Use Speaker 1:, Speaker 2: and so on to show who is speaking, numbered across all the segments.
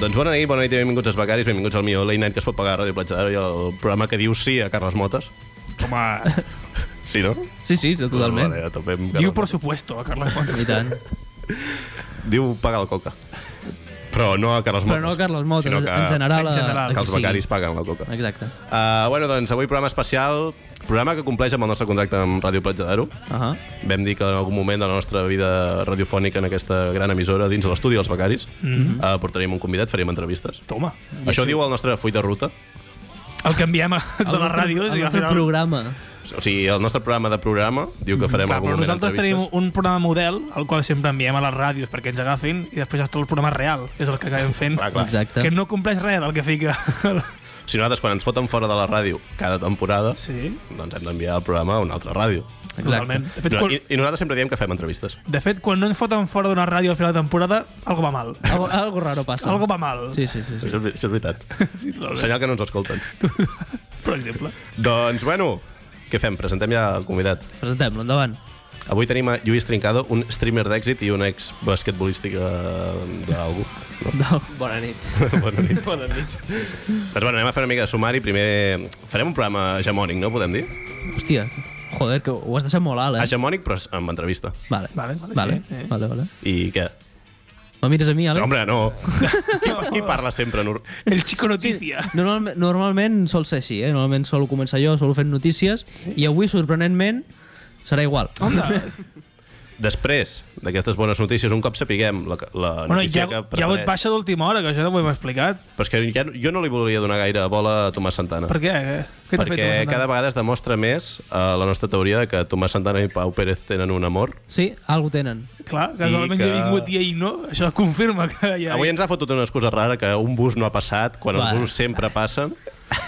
Speaker 1: Doncs bona nit, bona nit i benvinguts als becaris, benvinguts al millor late night que es pot pagar a Ràdio Platja d'Aro i el programa que diu sí a Carles Motes.
Speaker 2: Home,
Speaker 1: Sí, no?
Speaker 3: Sí, sí, totalment.
Speaker 1: Vale, a tope amb
Speaker 2: diu
Speaker 1: Carles
Speaker 2: por supuesto a Carles Montes.
Speaker 3: I tant.
Speaker 1: Motes. diu pagar la coca. Però no a Carles
Speaker 3: Però
Speaker 1: Motes.
Speaker 3: no Carles Motes,
Speaker 1: sinó
Speaker 3: en general.
Speaker 2: en general.
Speaker 3: a- a
Speaker 1: Que
Speaker 3: qui
Speaker 1: els
Speaker 3: sigui.
Speaker 1: becaris paguen la coca.
Speaker 3: Exacte.
Speaker 1: Uh, bueno, doncs avui programa especial, programa que compleix amb el nostre contracte amb Ràdio Platja d'Aro.
Speaker 3: Uh -huh.
Speaker 1: Vam dir que en algun moment de la nostra vida radiofònica en aquesta gran emissora, dins de l'estudi dels becaris,
Speaker 3: Mhm.
Speaker 1: mm -hmm. uh, portarem un convidat, farem entrevistes.
Speaker 2: Toma.
Speaker 1: Això diu el nostre full de ruta.
Speaker 2: El que enviem a, de les ràdios.
Speaker 3: El
Speaker 2: i al
Speaker 3: nostre
Speaker 2: final-
Speaker 3: programa.
Speaker 1: O sigui, el nostre programa de programa diu que farem
Speaker 2: Clar,
Speaker 1: algun
Speaker 2: però
Speaker 1: moment
Speaker 2: nosaltres tenim
Speaker 1: entrevistes.
Speaker 2: un programa model al qual sempre enviem a les ràdios perquè ens agafin i després es troba el programa real, que és el que acabem fent.
Speaker 1: Clar, clar.
Speaker 3: Exacte.
Speaker 2: Que no compleix res del que fica.
Speaker 1: Si nosaltres, quan ens foten fora de la ràdio cada temporada,
Speaker 2: sí,
Speaker 1: doncs hem d'enviar el programa a una altra ràdio.
Speaker 3: Exacte.
Speaker 2: totalment. De fet, quan,
Speaker 1: I, I nosaltres sempre diem que fem entrevistes.
Speaker 2: de fet, quan no ens foten fora d'una ràdio al final de temporada, algo va mal.
Speaker 1: Ah.
Speaker 3: Algo, algo raro passa.
Speaker 2: Algo va mal.
Speaker 3: Sí, sí, sí. sí.
Speaker 1: Això és, ver- això és veritat.
Speaker 2: sí totalment.
Speaker 1: Senyal que no ens escolten.
Speaker 2: Per exemple.
Speaker 1: doncs, bueno, què fem? Presentem ja el convidat.
Speaker 3: Presentem-lo, endavant.
Speaker 1: Avui tenim a Lluís Trincado, un streamer d'èxit i un ex-basquetbolístic eh, d'algú. No?
Speaker 3: Bona nit.
Speaker 1: Bona nit. Bona nit. Doncs bueno, anem a fer una mica de sumari. Primer farem un programa hegemònic, no? Podem dir?
Speaker 3: Hòstia, joder, que ho has deixat molt alt, eh?
Speaker 1: Hegemònic, però amb entrevista.
Speaker 3: Vale,
Speaker 2: Vale, vale,
Speaker 3: vale,
Speaker 2: sí, eh.
Speaker 3: vale, vale.
Speaker 1: I què?
Speaker 3: Me mires a mi,
Speaker 1: Sí,
Speaker 3: Ale?
Speaker 1: Hombre, no. qui, qui parla sempre? Nur?
Speaker 2: El Chico Noticia.
Speaker 3: Normalment, normalment sol ser així, eh? Normalment sol començar jo, sol fent notícies, i avui, sorprenentment, serà igual.
Speaker 2: Onda.
Speaker 1: Després d'aquestes bones notícies, un cop sapiguem la, la
Speaker 2: Bueno,
Speaker 1: notícia que
Speaker 2: ja, ja ho et
Speaker 1: prefereix...
Speaker 2: baixa d'última hora, que això no ho hem explicat.
Speaker 1: Però és que ja, no- jo no li volia donar gaire bola a Tomàs Santana.
Speaker 2: Per què? Eh? Què t'ha fet
Speaker 1: perquè
Speaker 2: emocionar?
Speaker 1: cada vegada es demostra més eh, la nostra teoria de que Tomàs Santana i Pau Pérez tenen un amor.
Speaker 3: Sí, algo tenen.
Speaker 2: Clar, que normalment
Speaker 1: que-
Speaker 2: que... he vingut dia i no, això confirma que hi ha...
Speaker 1: Avui ens ha fotut una excusa rara que un bus no ha passat, quan els
Speaker 3: Vale.
Speaker 1: busos sempre passen.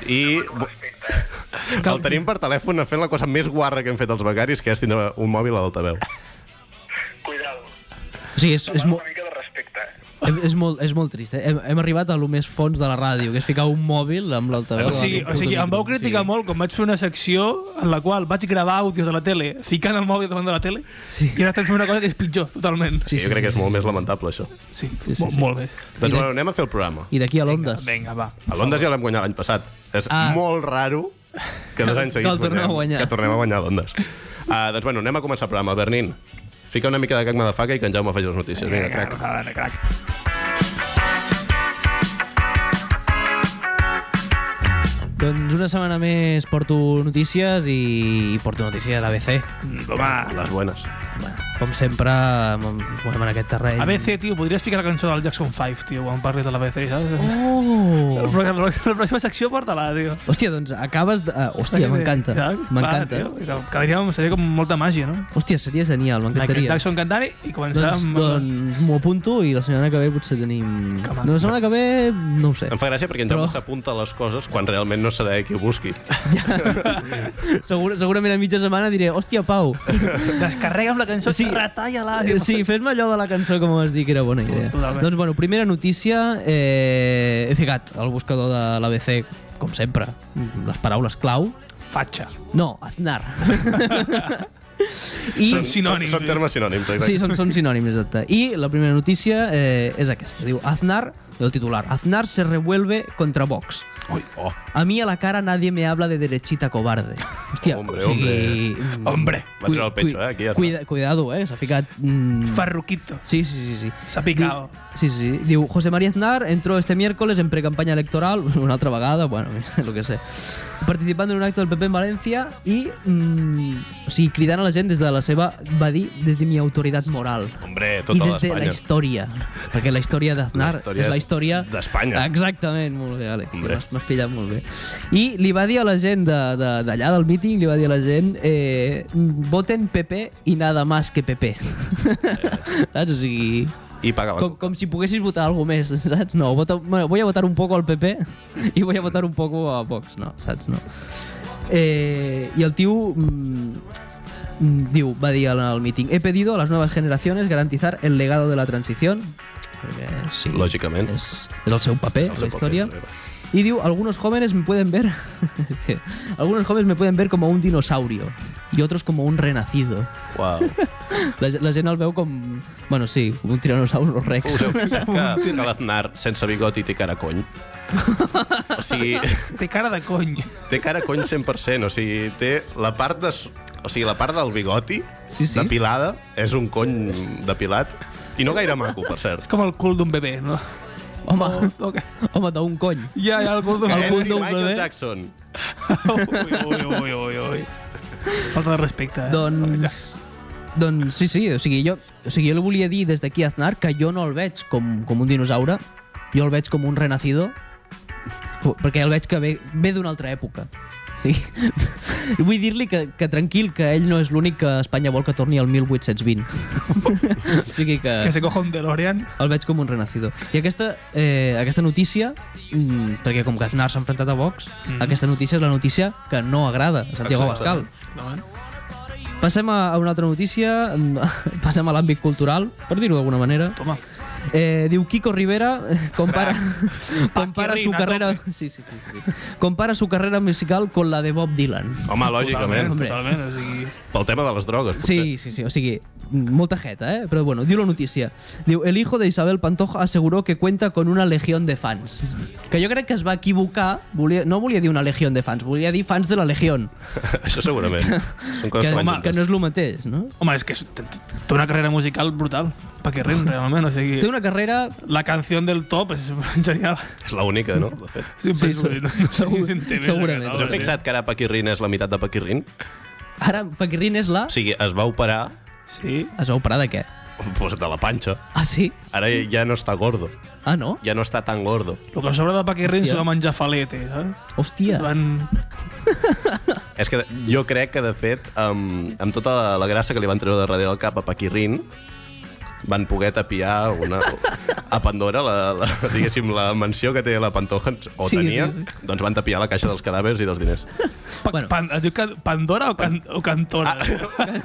Speaker 1: I el tenim per telèfon fent la cosa més guarra que hem fet els becaris, que és tindre un mòbil a l'altaveu.
Speaker 4: Cuidado,
Speaker 3: O sigui, és, és, mo
Speaker 4: una mica de respecte. eh?
Speaker 3: és, és, molt, és molt trist, eh? Hem, hem arribat a lo més fons de la ràdio, que és ficar un mòbil amb l'altaveu.
Speaker 2: O sigui, o sigui, em vau criticar
Speaker 3: Sí.
Speaker 2: molt quan vaig fer una secció en la qual vaig gravar àudios de la tele, ficant el mòbil davant de la tele,
Speaker 3: Sí.
Speaker 2: i ara estem fent una cosa que és pitjor, totalment.
Speaker 3: Sí,
Speaker 1: jo
Speaker 3: sí,
Speaker 1: crec
Speaker 3: sí,
Speaker 1: que és molt més lamentable, això.
Speaker 2: sí,
Speaker 3: sí,
Speaker 2: sí,
Speaker 3: sí,
Speaker 2: molt,
Speaker 3: sí.
Speaker 2: molt més.
Speaker 1: Doncs bueno, anem a fer el programa.
Speaker 3: I d'aquí a l'Ondes.
Speaker 2: Vinga, va.
Speaker 1: A Londres ja l'hem guanyat l'any passat. És
Speaker 3: Ah.
Speaker 1: molt raro que dos anys seguits
Speaker 3: el tornem a guanyar.
Speaker 1: que tornem a guanyar a Londres. Uh, doncs bueno, anem a començar el programa. Bernin, fica una mica de cacma de faca i que en Jaume faci les notícies. Vinga, crac.
Speaker 2: Vinga, crac.
Speaker 3: Doncs una setmana més porto notícies i porto notícies de l'ABC.
Speaker 2: Mm, Home,
Speaker 1: Les buenes.
Speaker 3: Bueno, com sempre, bueno, en aquest terreny...
Speaker 2: ABC, tio, podries ficar la cançó del Jackson 5, tio, quan parlis de l'ABC, saps? La,
Speaker 3: Oh!
Speaker 2: la, la, la pròxima secció porta-la, tio.
Speaker 3: Hòstia, doncs acabes de... ah, Hòstia, m'encanta.
Speaker 2: Ja, clar,
Speaker 3: M'encanta.
Speaker 2: tio, que- Quedaria, seria com molta màgia, no?
Speaker 3: Hòstia, seria genial,
Speaker 2: Michael
Speaker 3: m'encantaria.
Speaker 2: Jackson cantant i començar
Speaker 3: Doncs,
Speaker 2: amb...
Speaker 3: doncs m'ho apunto i la setmana que ve potser tenim...
Speaker 2: Home.
Speaker 3: No, la setmana que ve no ho sé.
Speaker 1: Em fa gràcia perquè en Jaume
Speaker 3: Però-
Speaker 1: s'apunta a les coses quan realment no sabrà qui ho busqui.
Speaker 3: Segur, segurament a mitja setmana diré, hòstia, Pau,
Speaker 2: Descarrega'm la cançó,
Speaker 3: Sí.
Speaker 2: sí. retalla-la.
Speaker 3: sí, fes-me allò de la cançó que em vas dir que era bona idea.
Speaker 2: Totalment.
Speaker 3: Doncs, bueno, primera notícia, eh, he ficat al buscador de l'ABC, com sempre, les paraules clau.
Speaker 2: Fatxa.
Speaker 3: No, Aznar.
Speaker 2: Són sinònims.
Speaker 1: Són termes sinònims. Exacte.
Speaker 3: Sí, són, són sinònims, exacte. I la primera notícia eh, és aquesta. Diu, Aznar, el titular, Aznar se revuelve contra Vox.
Speaker 1: Ui, oh,
Speaker 3: A mí a la cara nadie me habla de derechita cobarde. Hòstia,
Speaker 1: Hombre,
Speaker 3: o sigui... mm,
Speaker 2: Hombre.
Speaker 1: Va treure el pecho, eh, aquí, Aznar.
Speaker 3: Cuida, cuidado, eh, s'ha ficat... Mm,
Speaker 2: Farruquito.
Speaker 3: Sí, sí, sí, sí.
Speaker 2: S'ha picado.
Speaker 3: Diu- Sí, sí. Diu, José María Aznar entró este miércoles en precampaña electoral, una otra vagada, bueno, lo que sé, participando en un acto del PP en Valencia i mm, o sigui, cridant a la gent des de la seva, va dir, des de mi autoritat moral.
Speaker 1: hombre,
Speaker 3: I
Speaker 1: tota
Speaker 3: des de la
Speaker 1: l'Espanya.
Speaker 3: història, perquè la història d'Aznar
Speaker 1: La història
Speaker 3: és la
Speaker 1: és
Speaker 3: història...
Speaker 1: d'Espanya.
Speaker 3: Exactament, molt bé, Àlex, tio,
Speaker 1: Hombre.
Speaker 3: m'has- m'has pillat molt bé. I li va dir a la gent de- de- d'allà de, del míting, li va dir a la gent eh, voten PP i nada más que PP.
Speaker 1: Eh.
Speaker 3: Saps? O sigui...
Speaker 1: I paga la
Speaker 3: Com, com si poguessis votar alguna més, saps? No, vota, bueno, voy a votar un poco al PP i voy a votar un poco a Vox, no, saps? No. Eh, I el tio mm, mm, diu, va dir al, al míting, he pedido a las nuevas generaciones garantizar el legado de la transición, perquè sí,
Speaker 1: Lògicament.
Speaker 3: és, és el seu paper,
Speaker 1: És el seu
Speaker 3: la
Speaker 1: paper,
Speaker 3: història.
Speaker 1: és veritat.
Speaker 3: Y digo, algunos jóvenes me pueden ver. algunos jóvenes me pueden ver como un dinosaurio. y otros como un renacido.
Speaker 1: Uau.
Speaker 3: La, ge- la gent el veu com... Bueno, sí, un tiranosaurio rex.
Speaker 1: Us heu pensat que, que l'Aznar sense bigoti té cara a cony? O sigui,
Speaker 2: Té cara de cony.
Speaker 1: té cara a cony 100%, o sigui, té la part de... s- O sigui, la part del bigoti
Speaker 3: Sí, sí.
Speaker 1: depilada és un cony depilat i no gaire maco, per cert.
Speaker 2: És com el cul d'un bebè, no?
Speaker 3: Home,
Speaker 2: O- o que-
Speaker 3: home d'un cony.
Speaker 2: Ja, ja, el cul d'un
Speaker 3: El
Speaker 2: bebè.
Speaker 3: cul
Speaker 1: Henry
Speaker 3: d'un
Speaker 1: Michael
Speaker 3: bebè.
Speaker 1: Jackson.
Speaker 2: Ui, ui, ui, ui, ui. Falta de respecte. Eh?
Speaker 3: Doncs... Doncs sí, sí, o sigui, jo, o sigui, jo li volia dir des d'aquí a Aznar que jo no el veig com, com un dinosaure, jo el veig com un renacido, po- perquè el veig que ve, ve d'una altra època. O sigui, vull dir-li que, que tranquil, que ell no és l'únic que Espanya vol que torni al 1820. o sigui que...
Speaker 2: Que se coja un DeLorean.
Speaker 3: El veig com un renacido. I aquesta, eh, aquesta notícia, mm, perquè com que Aznar s'ha enfrontat a Vox,
Speaker 2: Mhm.
Speaker 3: aquesta notícia és la notícia que no agrada a Santiago
Speaker 1: Exacte.
Speaker 3: Abascal.
Speaker 2: No, eh?
Speaker 3: Passem a a una altra notícia, mm, passem a l'àmbit cultural, per dir-ho d'alguna manera.
Speaker 2: Toma.
Speaker 3: Eh, diu Kiko Rivera eh, compara, compara
Speaker 2: Paquirrin,
Speaker 3: su
Speaker 2: a
Speaker 3: carrera...
Speaker 2: tope.
Speaker 3: Sí, sí, sí, sí. Compara su carrera musical con la de Bob Dylan.
Speaker 1: Home, lògicament.
Speaker 3: hombre.
Speaker 2: Totalment, totalment. O sigui,
Speaker 1: Pel tema de les drogues, potser.
Speaker 3: Sí, sí, sí, o sigui, molta jeta, eh? Però bueno, diu la notícia. Diu, el hijo de Isabel Pantoja aseguró que cuenta con una legión de fans. Que jo crec que es va equivocar, volia, no volia dir una legión de fans, volia dir fans de la legión.
Speaker 1: Això segurament. Són
Speaker 3: Que,
Speaker 1: coses que,
Speaker 3: que no és el mateix, no?
Speaker 2: home, és que és- té té una carrera musical brutal. Pa que rin, realment. O sigui,
Speaker 3: Té una carrera...
Speaker 2: la canció del top és genial.
Speaker 1: és l'única, no? De fet.
Speaker 2: Sempre
Speaker 3: Sí,
Speaker 2: sí, no, no sé
Speaker 3: segur-
Speaker 2: si en té més,
Speaker 3: segurament.
Speaker 2: aquest
Speaker 1: Us heu
Speaker 2: home,
Speaker 1: fixat que ara Paquirrin és la meitat de Paquirrin?
Speaker 3: Ara, Paquirrin és la...
Speaker 1: O sigui, es va operar
Speaker 2: Sí.
Speaker 3: Es va operar de què?
Speaker 1: pues, de la panxa.
Speaker 3: Ah, sí?
Speaker 1: Ara ja no està gordo.
Speaker 3: Ah, no?
Speaker 1: Ja no està tan gordo.
Speaker 2: El que sobra de Paquirrin
Speaker 3: Hòstia.
Speaker 2: s'ho va menjar falete, saps?
Speaker 3: Hòstia.
Speaker 2: Van...
Speaker 1: És que jo crec que, de fet, amb, amb tota la, la grassa que li van treure de darrere el cap a Paquirrin, van poder tapiar una, a Pandora, la, la, diguéssim, la mansió que té la Pantoja, o
Speaker 3: Sí,
Speaker 1: tenia,
Speaker 3: sí,
Speaker 1: doncs van tapiar la caixa dels cadàvers i dels diners.
Speaker 2: Pa bueno.
Speaker 3: Bueno.
Speaker 2: pan, es diu can, Pandora o, can, o Cantona?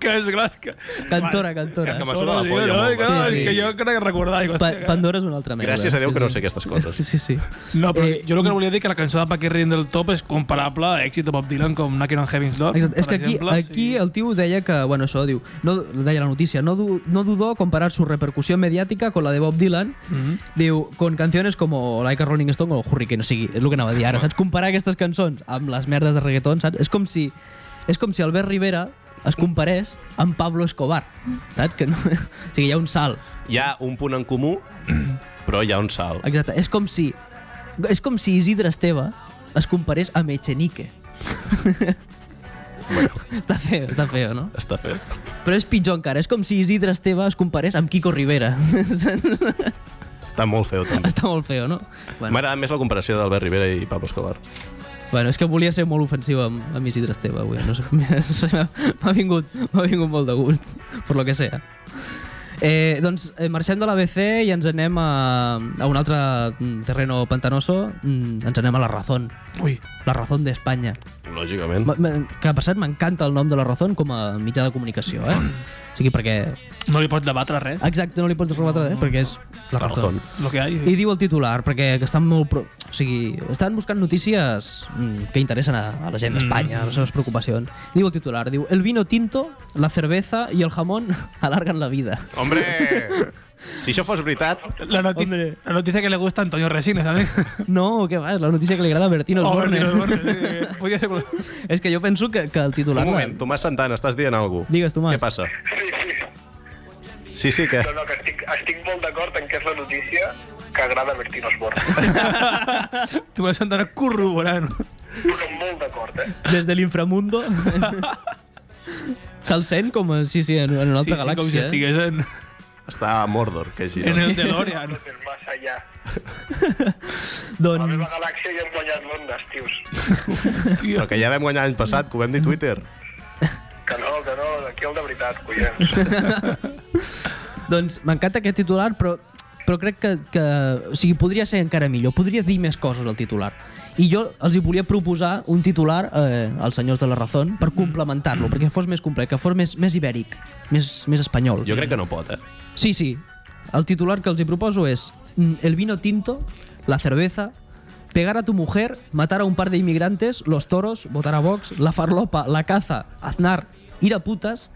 Speaker 2: que és clar que...
Speaker 3: Cantora,
Speaker 2: Bueno,
Speaker 3: cantora.
Speaker 1: És que m'ha sonat la
Speaker 2: sí,
Speaker 1: polla
Speaker 2: No,
Speaker 1: molt,
Speaker 2: que, no,
Speaker 3: sí, sí.
Speaker 2: que jo crec que recordar. Dic,
Speaker 3: Pa
Speaker 2: hòstia, que-
Speaker 3: Pandora és una altra merda.
Speaker 1: Gràcies a Déu
Speaker 3: Sí,
Speaker 1: que no
Speaker 3: sí.
Speaker 1: sé aquestes coses.
Speaker 3: Sí, sí.
Speaker 2: No, però
Speaker 3: Eh,
Speaker 2: eh, jo el que volia dir que la cançó de Paquirrin del top és comparable a èxit de Bob Dylan com Knocking on Heaven's Door. Ah,
Speaker 3: Exacte.
Speaker 2: per
Speaker 3: És que aquí,
Speaker 2: exemple,
Speaker 3: aquí el tio deia que, bueno, això diu, no, deia la notícia, no, du- no dudó comparar su repercusión mediática con la de Bob Dylan,
Speaker 2: Mhm.
Speaker 3: diu, con canciones como Like a Rolling Stone o Hurricane, o sigui, és el que anava a dir ara, saps? Comparar aquestes cançons amb les merdes de reggaeton, saps? És com si, és com si Albert Rivera es comparés amb Pablo Escobar, saps? Que no, o sigui, hi ha un salt.
Speaker 1: Hi ha un punt en comú, però hi ha un salt.
Speaker 3: Exacte, és com si és com si Isidre Esteve es comparés amb Echenique. està feo, està feo, no?
Speaker 1: Està fet.
Speaker 3: Però és pitjor encara, és com si Isidre Esteve es comparés amb Quico Rivera.
Speaker 1: Està molt feo, també.
Speaker 3: està molt feo, no?
Speaker 1: M'ha
Speaker 3: Bueno,
Speaker 1: agradat més la comparació d'Albert Rivera i Pablo Escobar.
Speaker 3: bueno, és que volia ser molt ofensiu amb, amb Isidre Esteve avui. No sé, no sé, m'ha- m'ha vingut, m'ha vingut molt de gust, per lo que sea. Eh, doncs eh, marxem de l'ABC i ens anem a, a un altre mm, terreno pantanoso, mm, ens anem a la Razón,
Speaker 2: Ui,
Speaker 3: la Razón d'Espanya.
Speaker 1: Lògicament.
Speaker 3: M- m- que per cert m'encanta el nom de la Razón com a mitjà de comunicació, eh? O sigui, perquè...
Speaker 2: no li pots debatre res.
Speaker 3: Exacte, no li pots rebatre, eh? perquè és la
Speaker 1: La
Speaker 3: Razón.
Speaker 1: Razón.
Speaker 2: Lo que hi ha.
Speaker 3: I diu el titular, perquè que estan molt... Pro... O sigui, estan buscant notícies mm, que interessen a, a la gent d'Espanya, a les seves preocupacions. Diu el titular, diu, el vino tinto, la cerveza i el jamón alargan la vida.
Speaker 1: Hombre! Si això fos veritat,
Speaker 2: La, noti
Speaker 3: Hombre.
Speaker 2: la noticia que le gusta a Antonio Resines, ¿sabes?
Speaker 3: No, què va, és la notícia que li agrada a Bertino
Speaker 2: Oh,
Speaker 3: Osborne.
Speaker 2: Bertino Osborne, sí, Podía ser... cual-
Speaker 3: és que jo penso que, que el titular...
Speaker 1: Un moment, Tomàs Santana, estàs dient alguna cosa?
Speaker 3: Digues, Tomàs.
Speaker 1: Què passa?
Speaker 4: Sí, sí.
Speaker 1: Sí, sí, que...
Speaker 4: No, no, que estic, estic molt d'acord en que és la notícia que agrada a Bertín Osborne.
Speaker 2: Tú vas a andar corroborando.
Speaker 4: Però molt d'acord, eh?
Speaker 3: Des de l'inframundo... Se'l sent com a, sí, sí, en en una
Speaker 2: Sí,
Speaker 3: altra
Speaker 2: sí,
Speaker 3: galàxia.
Speaker 2: com si
Speaker 3: eh?
Speaker 2: estigués en,
Speaker 1: Està a Mordor, que així.
Speaker 2: en el DeLorean.
Speaker 4: Del massa allà. A la
Speaker 3: Doncs...
Speaker 4: meva galàxia ja hem guanyat l'ondes, tios.
Speaker 1: Però que ja vam guanyar l'any passat, que ho vam dir a Twitter.
Speaker 4: Que no, que no, aquí el de veritat, collons.
Speaker 3: Doncs m'encanta aquest titular, però, però crec que, que... O sigui, podria ser encara millor. Podria dir més coses al titular. I jo els hi volia proposar un titular eh, als senyors de la Razón
Speaker 1: Mm.
Speaker 3: per complementar-lo, perquè fos més complet, que fos més, més ibèric, més, més espanyol.
Speaker 1: Jo crec que no pot, eh?
Speaker 3: Sí, sí. El titular que els hi proposo és mm, El vino tinto, la cerveza Pegar a tu mujer, matar a un par de inmigrantes, los toros, votar a Vox, la farlopa, la caza, Aznar, ir a putas,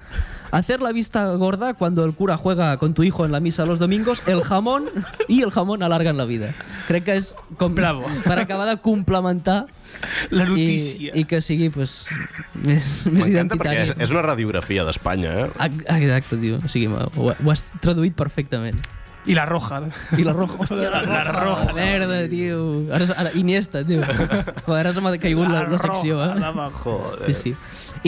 Speaker 3: hacer la vista gorda cuando el cura juega con tu hijo en la misa los domingos, el jamón i el jamón alargan la vida. Crec que és com
Speaker 2: Bravo.
Speaker 3: per acabar de complementar
Speaker 2: La
Speaker 3: i,
Speaker 2: notícia.
Speaker 3: i que sigui pues, més, més
Speaker 1: M'encanta perquè
Speaker 3: identitari.
Speaker 1: és, és una radiografia d'Espanya, eh?
Speaker 3: Ac- Exacte, tio. O sigui, ho, ho has traduït perfectament.
Speaker 2: I la roja.
Speaker 3: I la roja, hòstia, la roja.
Speaker 2: La roja.
Speaker 3: Merda, tio. Ara, és- ara Iniesta, tio. Joder, ara se m'ha caigut la, la secció,
Speaker 2: roja,
Speaker 3: eh?
Speaker 2: la va-
Speaker 1: Joder.
Speaker 3: Sí, sí.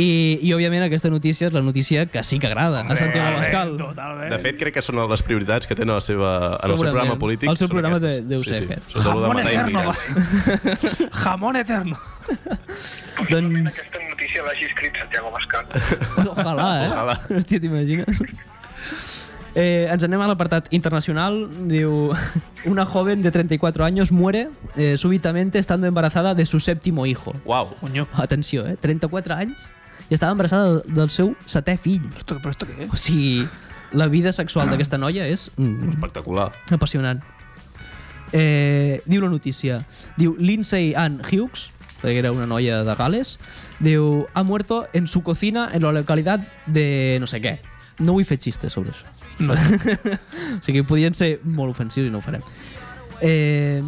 Speaker 3: I, I, òbviament, aquesta notícia és la notícia que sí que agrada a Santiago Abascal.
Speaker 2: Totalment.
Speaker 1: De fet, crec que són les prioritats que té en el, seva, en el seu
Speaker 3: Segurament.
Speaker 1: programa polític.
Speaker 3: El seu
Speaker 1: són
Speaker 3: programa
Speaker 1: aquestes.
Speaker 3: de- deu ser
Speaker 1: sí, sí.
Speaker 3: aquest.
Speaker 1: Sota lo de
Speaker 2: Jamón
Speaker 1: matar
Speaker 2: eterno.
Speaker 1: immigrants.
Speaker 2: va. Jamón eterno.
Speaker 4: Probablement
Speaker 3: Doncs,
Speaker 4: aquesta notícia l'hagi escrit Santiago Bascal.
Speaker 3: ojalà, eh?
Speaker 1: Ojalà.
Speaker 3: Hòstia, t'imagines? Eh, ens anem a l'apartat internacional. Diu, una joven de 34 años muere eh, súbitamente estando embarazada de su séptimo hijo.
Speaker 1: Uau.
Speaker 2: Coño.
Speaker 3: Atenció, eh? 34 anys i estava embarassada del seu setè fill.
Speaker 2: Esto, però esto què és?
Speaker 3: O sigui, la vida sexual d'aquesta noia és mm,
Speaker 1: Espectacular.
Speaker 3: apassionant. Eh, diu la notícia. Diu Lindsay Ann Hughes, que era una noia de Gales, diu, ha muerto en su cocina en la localitat de no sé què. No vull fer xistes sobre això.
Speaker 2: No.
Speaker 3: O sigui, podien ser molt ofensius i no ho farem. Eh,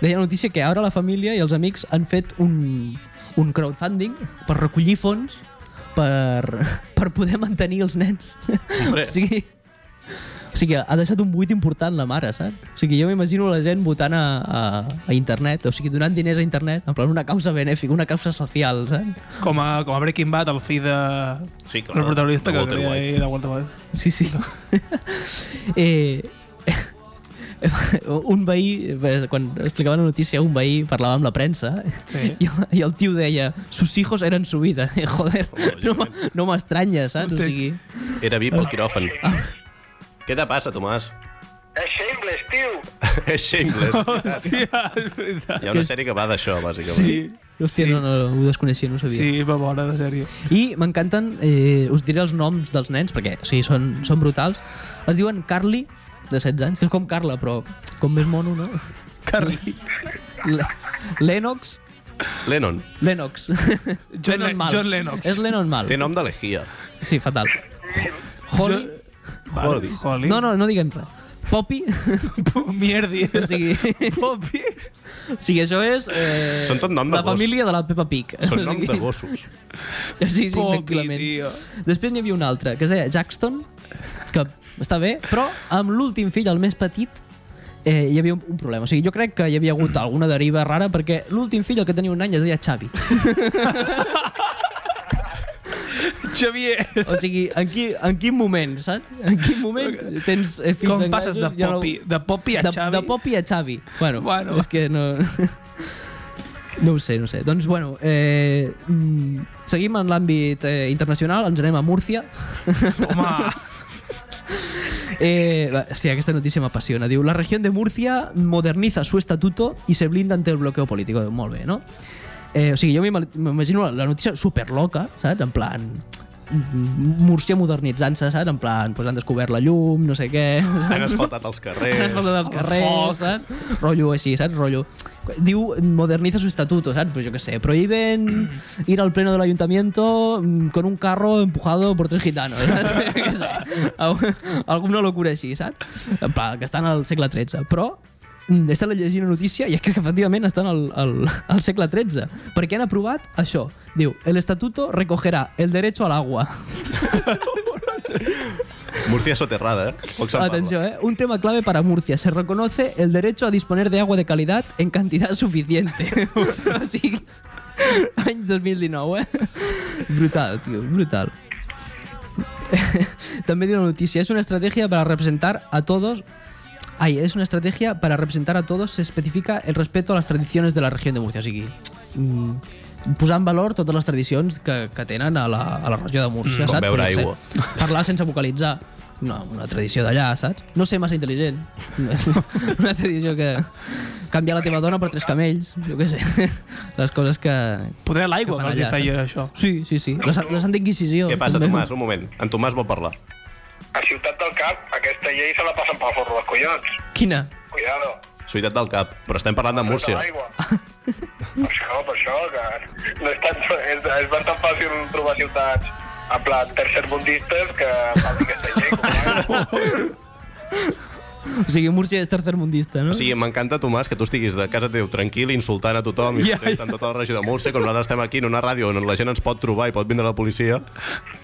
Speaker 3: deia la notícia que ara la família i els amics han fet un, un crowdfunding per recollir fons per, per poder mantenir els nens.
Speaker 1: Hombre.
Speaker 3: O sigui, o sigui, ha deixat un buit important la mare, saps? O sigui, jo m'imagino la gent votant a, a, a internet, o sigui, donant diners a internet, en plan una causa benèfica, una causa social, saps?
Speaker 2: Com a, com a Breaking Bad, el fill de...
Speaker 1: Sí, clar,
Speaker 2: El protagonista
Speaker 1: de
Speaker 2: que
Speaker 1: Walter
Speaker 2: crea
Speaker 1: White.
Speaker 2: ahí de Walter White.
Speaker 3: Sí, sí. eh, un veí, eh, quan explicava la notícia, un veí parlava amb la premsa
Speaker 2: Sí.
Speaker 3: i, el- i el tio deia sus hijos eren su vida. Eh, joder, no, m- no m'estranya, saps? O
Speaker 2: Entenc.
Speaker 3: sigui,
Speaker 1: Era vi pel quiròfan. Què te passa, Tomàs?
Speaker 4: És Shameless, tio!
Speaker 1: És xingles.
Speaker 2: Hòstia, és veritat.
Speaker 1: Hi ha una sèrie que va d'això, bàsicament.
Speaker 2: Sí,
Speaker 3: hòstia, sí. no, no, ho desconeixia, no ho sabia.
Speaker 2: sí, va bona, de sèrie.
Speaker 3: I m'encanten, eh, us diré els noms dels nens, perquè o sigui, són, són brutals. Es diuen Carly, de 16 anys, que és com Carla, però com més mono, no?
Speaker 2: Carly.
Speaker 3: Le- Lennox,
Speaker 1: Lennon.
Speaker 3: Lennox.
Speaker 2: John Le- John Lennox.
Speaker 3: És Lennon Mal.
Speaker 1: Té nom d'Alejía.
Speaker 3: Sí, fatal. Holly...
Speaker 1: Jodi.
Speaker 2: Holly.
Speaker 3: No, no, no diguem res. Poppy,
Speaker 2: Mierdi. Pues
Speaker 3: o sigui,
Speaker 2: Poppy.
Speaker 3: o sigui això és... Eh,
Speaker 1: Són tot nom de
Speaker 3: La
Speaker 1: gos.
Speaker 3: família de la Peppa Pig.
Speaker 1: Són
Speaker 3: O
Speaker 1: nom
Speaker 3: sigui,
Speaker 1: de gossos.
Speaker 3: Sí, sí,
Speaker 2: Poppy,
Speaker 3: tranquil·lament.
Speaker 2: tio.
Speaker 3: Després n'hi havia un altre, que es deia Jackson, que està bé, però amb l'últim fill, el més petit, eh, hi havia un, un problema. O sigui, jo crec que hi havia hagut alguna deriva rara perquè l'últim fill, el que tenia un any, es deia Xavi.
Speaker 2: Xavier.
Speaker 3: O sigui, en, qui, en quin moment, saps? En quin moment tens eh, fills
Speaker 2: Com passes de
Speaker 3: anglesos, ja no-
Speaker 2: Poppy, de Poppy a
Speaker 3: de,
Speaker 2: Xavi?
Speaker 3: de Poppy a Xavi. Bueno,
Speaker 2: Bueno.
Speaker 3: bueno. és que no... No ho sé, no ho sé. Doncs, bueno, eh, mm, seguim en l'àmbit eh, internacional, ens anem a Múrcia.
Speaker 2: Toma.
Speaker 3: Eh, va, hòstia, aquesta notícia m'apassiona. Diu, la región de Murcia moderniza su estatuto y se blinda ante el bloqueo político. Diu, molt bé, no? Eh, o sigui, jo m'ima- m'imagino la, la notícia superloca, saps? En plan, mm, Múrcia modernitzant-se, saps? En plan, pues, han descobert la llum, no sé què...
Speaker 1: Han asfaltat els
Speaker 3: Saps,
Speaker 1: carrers.
Speaker 3: falta dels carrers,
Speaker 2: foc.
Speaker 3: saps? Rollo així, saps? Rollo... Diu, moderniza su estatuto, ¿sabes? Pues yo qué sé, prohíben ir al pleno del ayuntamiento mm, con un carro empujado por tres gitanos, ¿sabes? Què sé, al- Alguna locura així, saps? En plan, que estan al segle XIII. Però mm, he estat llegint una notícia i és que efectivament estan al, al, al segle XIII. Perquè han aprovat això. Diu, el estatuto recogerà el derecho al agua.
Speaker 1: Murcia soterrada, eh? Poc se'n
Speaker 3: Atención,
Speaker 1: parla.
Speaker 3: ¿eh? un tema clave para Murcia. Se reconoce el derecho a disponer de agua de calidad en cantidad suficiente. Así que- Any 2019, eh? Brutal, tío, brutal. También dio una noticia. Es una estrategia para representar a todos. Ay, es una estrategia para representar a todos. Se especifica el respeto a las tradiciones de la región de Murcia. Así que. mm, posar en valor totes les tradicions que, que tenen a la, a la regió de Múrcia,
Speaker 1: Mm, com
Speaker 3: saps?
Speaker 1: beure
Speaker 3: Jo què sé.
Speaker 1: aigua.
Speaker 3: Parlar sense vocalitzar. No, una tradició d'allà, saps? No ser massa intel·ligent. Una tradició que... Canviar la teva dona per tres camells, jo què sé. Les coses que...
Speaker 2: Poder l'aigua que
Speaker 3: Que eh? fan
Speaker 2: els hi
Speaker 3: allà,
Speaker 2: feia això.
Speaker 3: Sí, sí, sí. La, sa- la Santa Inquisició.
Speaker 1: Què passa,
Speaker 3: eh, també.
Speaker 1: Tomàs? Un moment. En Tomàs vol parlar.
Speaker 4: A Ciutat del Cap, aquesta llei se la passen pel forro dels collons.
Speaker 3: Quina?
Speaker 4: Cuidado.
Speaker 1: Ciutat del Cap, però estem parlant de Múrcia.
Speaker 4: L'aigua. per això, per això, que no és, tan, és, és bastant fàcil trobar ciutats en plan tercermundistes que parlin castellà i company.
Speaker 3: O sigui, Múrcia és tercermundista, no?
Speaker 1: O sigui, m'encanta, Tomàs, que tu estiguis de casa teu tranquil, insultant a tothom,
Speaker 2: Ja,
Speaker 1: insultant yeah. tota la regió de Múrcia, com nosaltres estem aquí en una ràdio on la gent ens pot trobar i pot vindre la policia.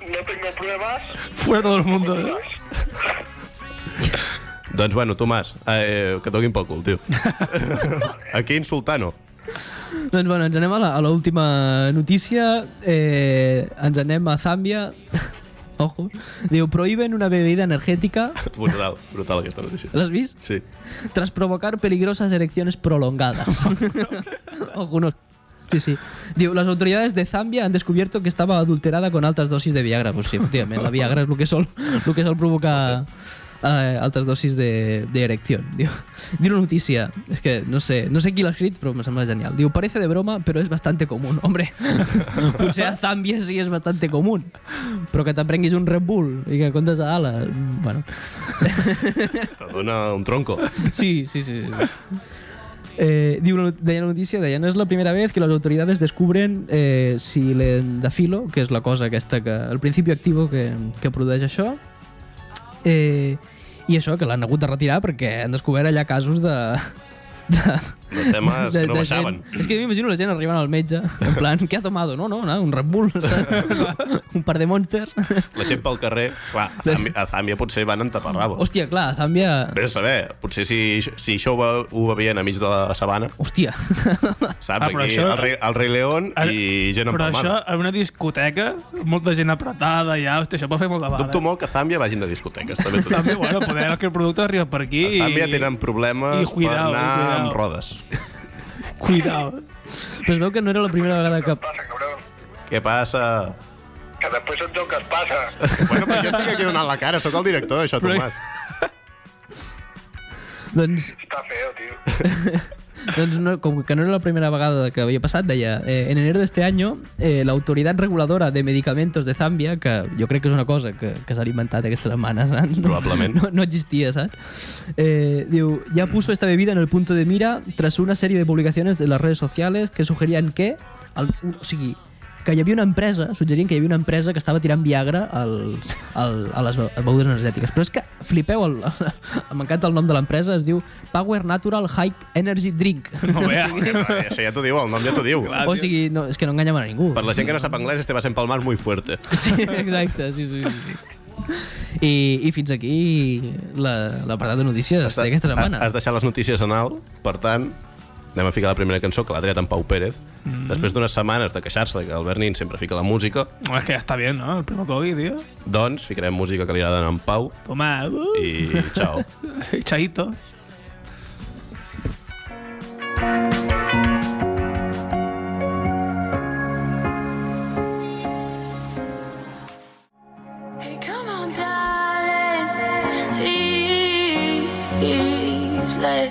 Speaker 4: No tengo pruebas.
Speaker 2: Fuera todo el mundo. ¿eh?
Speaker 1: Doncs bueno, Tomàs, eh, que et donin pel cul, tio. aquí insultant, no?
Speaker 3: Doncs bueno, ens anem a la- a l'última notícia. Eh, ens anem a Zàmbia. Ojo. Diu, prohíben una bebida energética.
Speaker 1: Brutal, brutal aquesta notícia.
Speaker 3: L'has vist?
Speaker 1: Sí.
Speaker 3: Tras provocar peligrosas erecciones prolongadas. Algunos. Sí, sí. Diu, las autoridades de Zambia han descubierto que estaba adulterada con altas dosis de Viagra. Pues sí, efectivamente, la Viagra es lo que sol, lo que sol provoca eh, altas dosis de, de erección. Diu, diu una noticia, es que no sé, no sé qui l'ha escrit, però me sembla genial. Diu, parece de broma, pero es bastante común. Hombre, potser a Zambia sí és bastante común, però que t'aprenguis un Red Bull i que en comptes d'ala... Bueno,
Speaker 1: Te dona un tronco.
Speaker 3: Sí, sí, sí. sí. Eh, diu la not- deia la notícia, deia, no és la primera vez que les autoritats descubren eh, si l'endafilo, que és la cosa aquesta, que, el principi actiu que, que produeix això, eh, i això, que l'han hagut de retirar perquè han descobert allà casos de... de
Speaker 1: El tema és que no baixaven.
Speaker 3: Gent. És que m'imagino la gent arribant al metge, en plan, què ha tomado? No, no, no un Red Bull, saps? un par de Monster.
Speaker 1: La gent pel carrer, clar, a Zàmbia, a Zàmbia potser van enterrar-vos.
Speaker 3: Hòstia, clar, a Zàmbia...
Speaker 1: Vés a saber, potser si, si això ho, ve- ho bevien a mig de la sabana,
Speaker 3: Hòstia.
Speaker 1: saps?
Speaker 2: Ah,
Speaker 1: Aquí
Speaker 2: però això- Ah,
Speaker 1: el, rei, el rei León i gent
Speaker 2: Però això,
Speaker 1: empalmada.
Speaker 2: en una discoteca, molta gent apretada i ja, hòstia, això va fer molt de bala.
Speaker 1: Dubto molt que a Zàmbia vagin de discoteques, també. t'ho dic.
Speaker 2: També, bueno, poder que el producte arriba per aquí
Speaker 1: A Zàmbia tenen problemes
Speaker 2: i cuidao,
Speaker 1: per anar
Speaker 2: i cuidao.
Speaker 1: amb rodes.
Speaker 2: Cuidao.
Speaker 3: Però es veu que no era la primera vegada que
Speaker 4: Passa, cabrón.
Speaker 1: Què passa?
Speaker 4: Que després ets el que es passa.
Speaker 1: Bueno, però jo estic aquí donant la cara, sóc el director d'això,
Speaker 2: Però-
Speaker 1: Tomàs.
Speaker 3: Doncs,
Speaker 4: Està feo, tio.
Speaker 3: doncs no, com que no era la primera vegada que havia passat, deia, eh, en enero de este año, eh, la Autoridad Reguladora de Medicamentos de Zàmbia, que jo crec que és una cosa que, que s'ha inventat aquesta setmana, saps? No-
Speaker 1: Probablement.
Speaker 3: No, no existia, saps? Eh, diu, ya puso esta bebida en el punto de mira tras una serie de publicaciones en las redes sociales que sugerían que... El, o sigui, que hi havia una empresa, suggerien que hi havia una empresa que estava tirant Viagra als, al, a les be- begudes energètiques. Però és que, flipeu, el- m'encanta el nom de l'empresa, es diu Power Natural High Energy Drink.
Speaker 2: No vea.
Speaker 1: Això ja t'ho diu, el nom ja t'ho diu.
Speaker 2: Clar.
Speaker 3: o sigui, no, és que no enganyaven a ningú.
Speaker 1: Ah, Per la gent que no sap anglès, este va ser empalmar muy fuerte.
Speaker 3: Sí, exacte, sí, sí, sí. sí. I, I fins aquí la- l'apartat de notícies d'aquesta setmana.
Speaker 1: Has deixat les notícies en alt, per tant, anem a ficar la primera cançó, que l'ha tret en Pau Pérez. Mm. Després d'unes setmanes de queixar-se de que el Bernin sempre fica la música,
Speaker 2: No, és que ja està bé, no? El primer Kogi, tio.
Speaker 1: doncs ficarem música que li agrada en Pau
Speaker 2: Toma, uh,
Speaker 1: i ciao.
Speaker 2: i... chaito.
Speaker 5: Hey, come on, darling. Sleepless.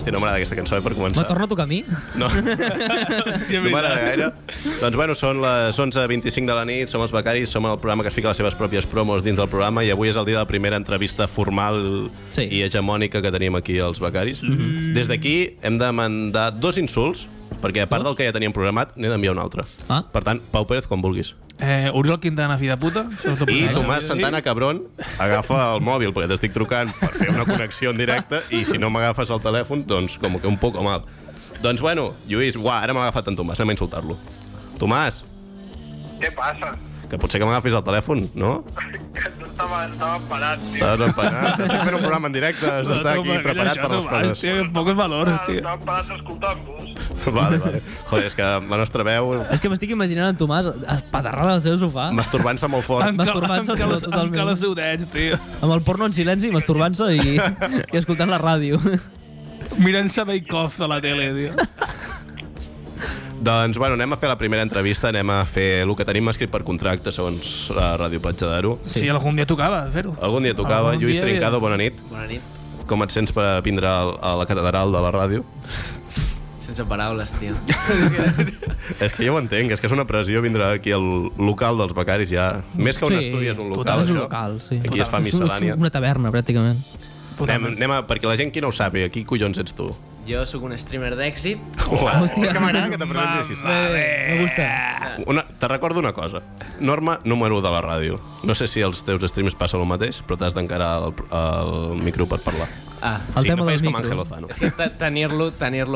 Speaker 1: Estic enamorada d'aquesta cançó, eh, per
Speaker 3: Me
Speaker 1: començar.
Speaker 3: torna a tocar a mi?
Speaker 1: No,
Speaker 2: Ja,
Speaker 1: no m'agrada gaire. Doncs bueno, són les 11.25 de la nit, som els becaris, som el programa que es fica les seves pròpies promos dins del programa i avui és el dia de la primera entrevista formal
Speaker 3: Sí.
Speaker 1: i hegemònica que tenim aquí els becaris. Mm -hmm. Des d'aquí hem de mandar dos insults, perquè a part del que ja teníem programat, n'he d'enviar un altre.
Speaker 3: Ah.
Speaker 1: Per tant, Pau Pérez, quan vulguis.
Speaker 2: Eh, Oriol Quintana, fi de puta. això us ho
Speaker 1: I
Speaker 2: posaré.
Speaker 1: Tomàs Santana, cabron, agafa el mòbil, perquè t'estic trucant per fer una connexió en directe, i si no m'agafes el telèfon, doncs com que un poc mal. Doncs bueno, Lluís, uà, ara m'ha agafat en Tomàs, anem a insultar-lo. Tomàs,
Speaker 4: Què passa?
Speaker 1: que potser que m'agafis el telèfon, no?
Speaker 4: Que tu estava, estava parat, tio.
Speaker 1: Estàs empanat, estic fent un programa en directe, has d'estar
Speaker 2: Toma,
Speaker 1: aquí
Speaker 2: que
Speaker 1: preparat
Speaker 2: això,
Speaker 1: per les
Speaker 2: Tomàs,
Speaker 1: coses.
Speaker 2: Tio, amb pocs valors, tio.
Speaker 4: Estava parat escoltant-vos.
Speaker 1: Vale, vale. Joder, és que la nostra veu
Speaker 3: És que m'estic imaginant en Tomàs espaterrant al seu sofà,
Speaker 1: masturbant-se molt fort.
Speaker 2: Enca-
Speaker 3: Masturbant-se
Speaker 2: enca-
Speaker 3: tot- totalment.
Speaker 2: enca les udets, tio.
Speaker 3: amb el porno en silenci, masturbant-se i, i escoltant la ràdio.
Speaker 2: Mirant-se Bake Off a la tele, tio.
Speaker 1: Doncs, bueno, anem a fer la primera entrevista, anem a fer el que tenim escrit per contracte, segons la Ràdio Platja d'Aro.
Speaker 2: Sí, algun dia tocava fer-ho.
Speaker 1: Algun dia tocava.
Speaker 2: Algun
Speaker 1: Lluís
Speaker 2: dia-
Speaker 1: Trincado, bona nit.
Speaker 6: Bona nit.
Speaker 1: Com et sents per vindre al- a la catedral de la ràdio?
Speaker 6: Sense paraules, tio.
Speaker 1: És que jo ho entenc, és que és una pressió vindre aquí al local dels becaris ja. Més que un
Speaker 3: Sí,
Speaker 1: estudi és un
Speaker 3: Total,
Speaker 1: local,
Speaker 3: és un
Speaker 1: això.
Speaker 3: local, sí.
Speaker 1: Aquí
Speaker 3: Total.
Speaker 1: es fa miscel·lània.
Speaker 3: Una taverna, pràcticament.
Speaker 1: Anem, anem a, perquè la gent qui no ho sàpiga, qui collons ets tu?
Speaker 6: Jo sóc un streamer d'èxit.
Speaker 1: Uau,
Speaker 3: hòstia.
Speaker 1: és que m'agrada que t'apresentis així.
Speaker 3: Bé, bé, me gusta.
Speaker 1: Una, te recordo una cosa. Norma número u de la ràdio. No sé si als teus streams passa el mateix, però t'has d'encarar el, el micro per parlar.
Speaker 6: Ah,
Speaker 3: El
Speaker 1: sí,
Speaker 3: tema
Speaker 1: no
Speaker 3: del
Speaker 1: feis com
Speaker 3: micro.
Speaker 1: Ángel Lozano.
Speaker 6: és que te- tenir-lo tenir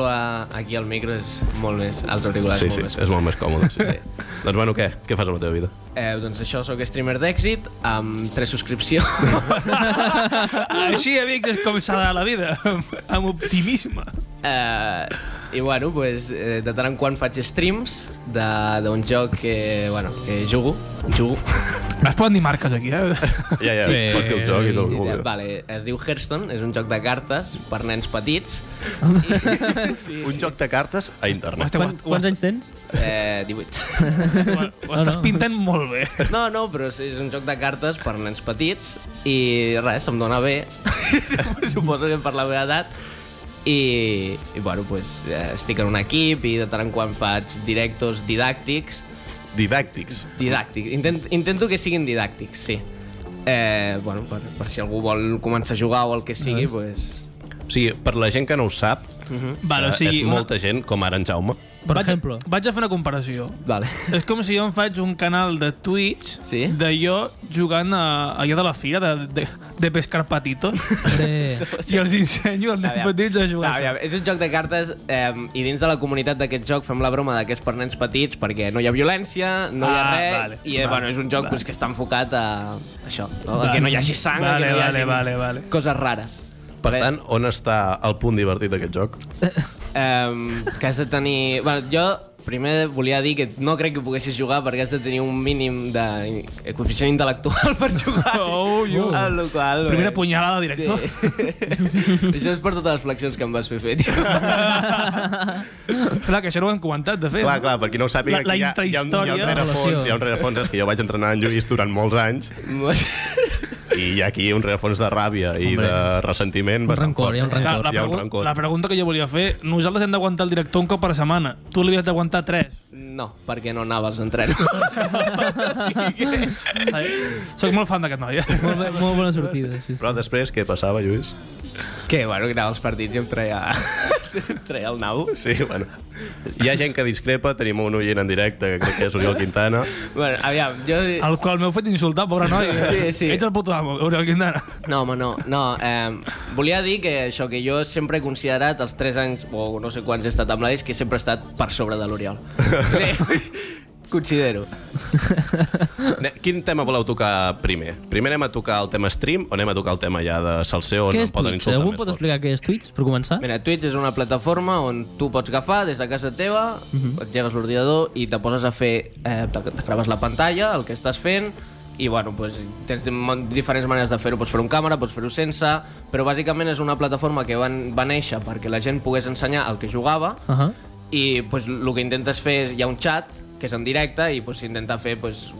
Speaker 6: aquí al micro és molt més... als auriculars
Speaker 1: Sí, sí,
Speaker 6: molt més.
Speaker 1: és molt més còmode. Sí. sí. doncs bueno, què? Què fas a la teva vida?
Speaker 6: Eh, doncs això, sóc streamer d'èxit amb tres subscripcions.
Speaker 2: Així, amics, és com s'ha de la vida, amb, amb optimisme.
Speaker 6: Eh, I bueno, pues, eh, de tant en quant faig streams de- d'un joc que, bueno, que jugo. Jugo.
Speaker 2: No es poden dir marques aquí, eh?
Speaker 1: Ja, ja,
Speaker 3: Bé.
Speaker 1: pots fer el joc i tot el que
Speaker 6: Eh,
Speaker 1: vulguis.
Speaker 6: vale, es diu Hearthstone, és un joc de cartes per nens petits. sí,
Speaker 1: Un joc de cartes a internet.
Speaker 2: Ho,
Speaker 3: Quants,
Speaker 2: est- ho,
Speaker 3: quants anys tens?
Speaker 6: Eh, 18.
Speaker 2: est- ho, ho estàs
Speaker 3: No, no.
Speaker 2: pintant molt bé.
Speaker 1: Eh?
Speaker 6: No, no, però és és un joc de cartes per nens petits i res, em dóna bé. Suposo que per la meva edat. I, i bueno, pues, eh, estic en un equip i de tant en quant faig directos didàctics
Speaker 1: Didàctics.
Speaker 6: Didàctics. Intent, intento que siguin didàctics, sí. Eh, bueno, per, per si algú vol començar a jugar o el que sigui, pues...
Speaker 1: O sigui, per la gent que no ho sap,
Speaker 2: Vale, o
Speaker 1: eh,
Speaker 2: sigui,
Speaker 1: és
Speaker 2: una-
Speaker 1: molta gent, com ara en Jaume.
Speaker 3: Per
Speaker 2: vaig,
Speaker 3: exemple.
Speaker 2: Vaig a fer una comparació.
Speaker 6: Vale.
Speaker 2: És com si jo em faig un canal de Twitch
Speaker 6: Sí.
Speaker 2: de jo jugant a, allò de la fira, de, de, de pescar patitos,
Speaker 3: Hombre,
Speaker 2: i els ensenyo als nens
Speaker 6: Aviam.
Speaker 2: petits a jugar.
Speaker 6: No, aviam, és un joc de cartes eh, i dins de la comunitat d'aquest joc fem la broma de que és per nens petits perquè no hi ha violència, no hi ha
Speaker 2: Ah,
Speaker 6: res
Speaker 2: vale,
Speaker 6: i eh,
Speaker 2: vale,
Speaker 6: bueno, és un joc
Speaker 2: vale.
Speaker 6: pues, que està enfocat a això, no?
Speaker 2: Vale.
Speaker 6: a que no hi hagi sang, a
Speaker 2: Vale,
Speaker 6: que no hi
Speaker 2: vale,
Speaker 6: hagi
Speaker 2: vale, vale.
Speaker 6: coses rares.
Speaker 1: Per
Speaker 6: Res.
Speaker 1: tant, on està el punt divertit d'aquest joc?
Speaker 6: Em, que has de tenir... Bueno, jo primer volia dir que no crec que poguessis jugar perquè has de tenir un mínim de coeficient intel·lectual per jugar.
Speaker 2: Oh, yo.
Speaker 6: Amb la qual,
Speaker 2: Primera
Speaker 6: bé,
Speaker 2: punyalada, director.
Speaker 6: Sí. Això és per totes les flexions que em vas fer fer, tio.
Speaker 2: Clar, que això no ho hem comentat, de fet.
Speaker 1: Clar, clar, per qui no ho sàpiga,
Speaker 2: La- la
Speaker 1: aquí hi ha, hi ha, un, hi ha un
Speaker 2: intrahistòria.
Speaker 1: rerefons, hi ha un rerefons, és que jo vaig entrenar en Lluís durant molts anys, i hi ha aquí un rerefons de ràbia i
Speaker 3: Hombre.
Speaker 1: de ressentiment
Speaker 3: Un
Speaker 1: bastant
Speaker 3: rancor,
Speaker 1: fort.
Speaker 3: hi ha un rancor.
Speaker 2: Clar,
Speaker 3: Rencor.
Speaker 2: la,
Speaker 1: Hi ha un
Speaker 2: pregu-
Speaker 1: rancor.
Speaker 2: la pregunta que jo volia fer, nosaltres hem d'aguantar el director un cop per setmana. Tu l'havies d'aguantar tres.
Speaker 6: No, perquè no anava als entrenos. o sigui que...
Speaker 2: Soc molt fan d'aquest noi. eh?
Speaker 3: molt, bé, molt bona sortida. Sí, sí.
Speaker 1: Però després, què passava, Lluís?
Speaker 6: Que, bueno, que anava als partits i em treia, em treia el nau.
Speaker 1: Sí, bueno. Hi ha gent que discrepa, tenim un oient en directe, que crec que és Oriol Quintana.
Speaker 6: Bueno, aviam, jo...
Speaker 2: El qual m'heu fet insultar, pobre noi. eh?
Speaker 6: Sí, sí.
Speaker 2: Ets el puto amo, Oriol Quintana.
Speaker 6: No, home, no. no eh, volia dir que això que jo sempre he considerat els 3 anys, o no sé quants he estat amb l'Aris, que sempre he estat per sobre de l'Oriol. Considero.
Speaker 1: Ne- Quin tema voleu tocar primer? Primer anem a tocar el tema stream o anem a tocar el tema ja de salseo on em
Speaker 3: Què és
Speaker 1: Doncs poden
Speaker 3: Twitch?
Speaker 1: insultar
Speaker 3: Algú
Speaker 1: més
Speaker 3: pot
Speaker 1: fort?
Speaker 3: explicar què és Twitch, per començar?
Speaker 6: Mira, Twitch és una plataforma on tu pots agafar des de casa teva, uh -huh. et llegues l'ordinador i te poses a fer... Eh, te, te graves la pantalla, el que estàs fent, i bueno, pues, tens de- mon- diferents maneres de fer-ho. Pots fer-ho amb càmera, pots fer-ho sense, però bàsicament és una plataforma que van, va néixer perquè la gent pogués ensenyar el que jugava
Speaker 3: Uh -huh.
Speaker 6: i pues, el que intentes fer és, hi ha un chat que és en directe i pues, s'intenta fer pues,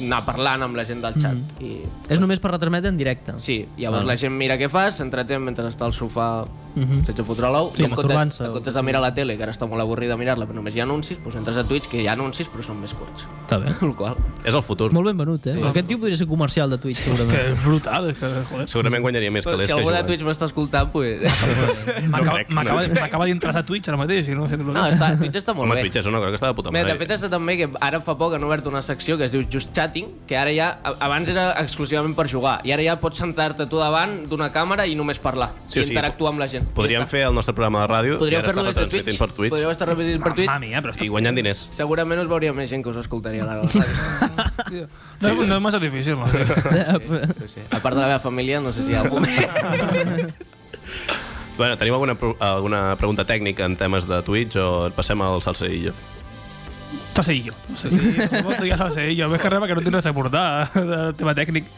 Speaker 6: anar parlant amb la gent del chat. Mm. I,
Speaker 3: És només per retransmetre en directe.
Speaker 6: Sí, llavors
Speaker 3: Val.
Speaker 6: la gent mira què fas, s'entretén mentre està al sofà
Speaker 3: Ah. Mhm.
Speaker 6: sense fotre l'ou.
Speaker 3: Sí,
Speaker 6: i en comptes,
Speaker 3: masturbant-se.
Speaker 6: en comptes de mirar la tele, que ara està molt avorrida mirar-la, però només hi ha anuncis, doncs entres a Twitch, que hi ha anuncis, però són més curts.
Speaker 3: Està bé.
Speaker 6: El qual...
Speaker 1: És el futur.
Speaker 3: Molt ben venut, eh? Sí. Aquest tio podria ser comercial de Twitch,
Speaker 2: Que
Speaker 3: segurament.
Speaker 2: és brutal, és que, joder.
Speaker 1: Segurament guanyaria més
Speaker 6: Però
Speaker 1: calés
Speaker 6: si
Speaker 1: que eh?
Speaker 6: algú de
Speaker 1: jugant.
Speaker 6: Twitch m'està escoltant, pues...
Speaker 2: M'acaba-
Speaker 1: crec, no
Speaker 2: M'acaba
Speaker 1: crec.
Speaker 2: m'acaba d'interessar Twitch ara mateix, i no sé
Speaker 6: No, està, Twitch està molt
Speaker 1: Home,
Speaker 6: bé.
Speaker 1: Twitch és una cosa que està de puta
Speaker 6: Mira,
Speaker 1: mare.
Speaker 6: de fet, està també que ara fa poc han obert una secció que es diu Just Chatting, que ara ja, a- abans era exclusivament per jugar, i ara ja pots sentar-te tu davant d'una càmera i només parlar,
Speaker 1: Sí,
Speaker 6: sí,
Speaker 1: o
Speaker 6: i
Speaker 1: sigui,
Speaker 6: interactuar amb la gent.
Speaker 1: Podríem
Speaker 6: ja
Speaker 1: fer el nostre programa de ràdio
Speaker 6: Podríem
Speaker 1: i ara
Speaker 6: fer-lo
Speaker 1: estar
Speaker 6: des de
Speaker 1: retransmitint
Speaker 6: Twitch.
Speaker 1: per Twitch
Speaker 6: Podríeu estar retransmitint per Twitch.
Speaker 3: Ah,
Speaker 2: Mamma mia, eh, però està...
Speaker 1: i guanyant diners.
Speaker 6: Segurament us veuria més gent que us escoltaria a la ràdio.
Speaker 2: No, no és massa difícil, no?
Speaker 6: No sé. A part de la meva família, no sé si hi ha algú més.
Speaker 1: Bueno, teniu alguna, pro- alguna pregunta tècnica en temes de Twitch o passem al salseillo?
Speaker 2: Està seguillo. Està seguillo. Ves que res, perquè no tinc res a portar de tema tècnic.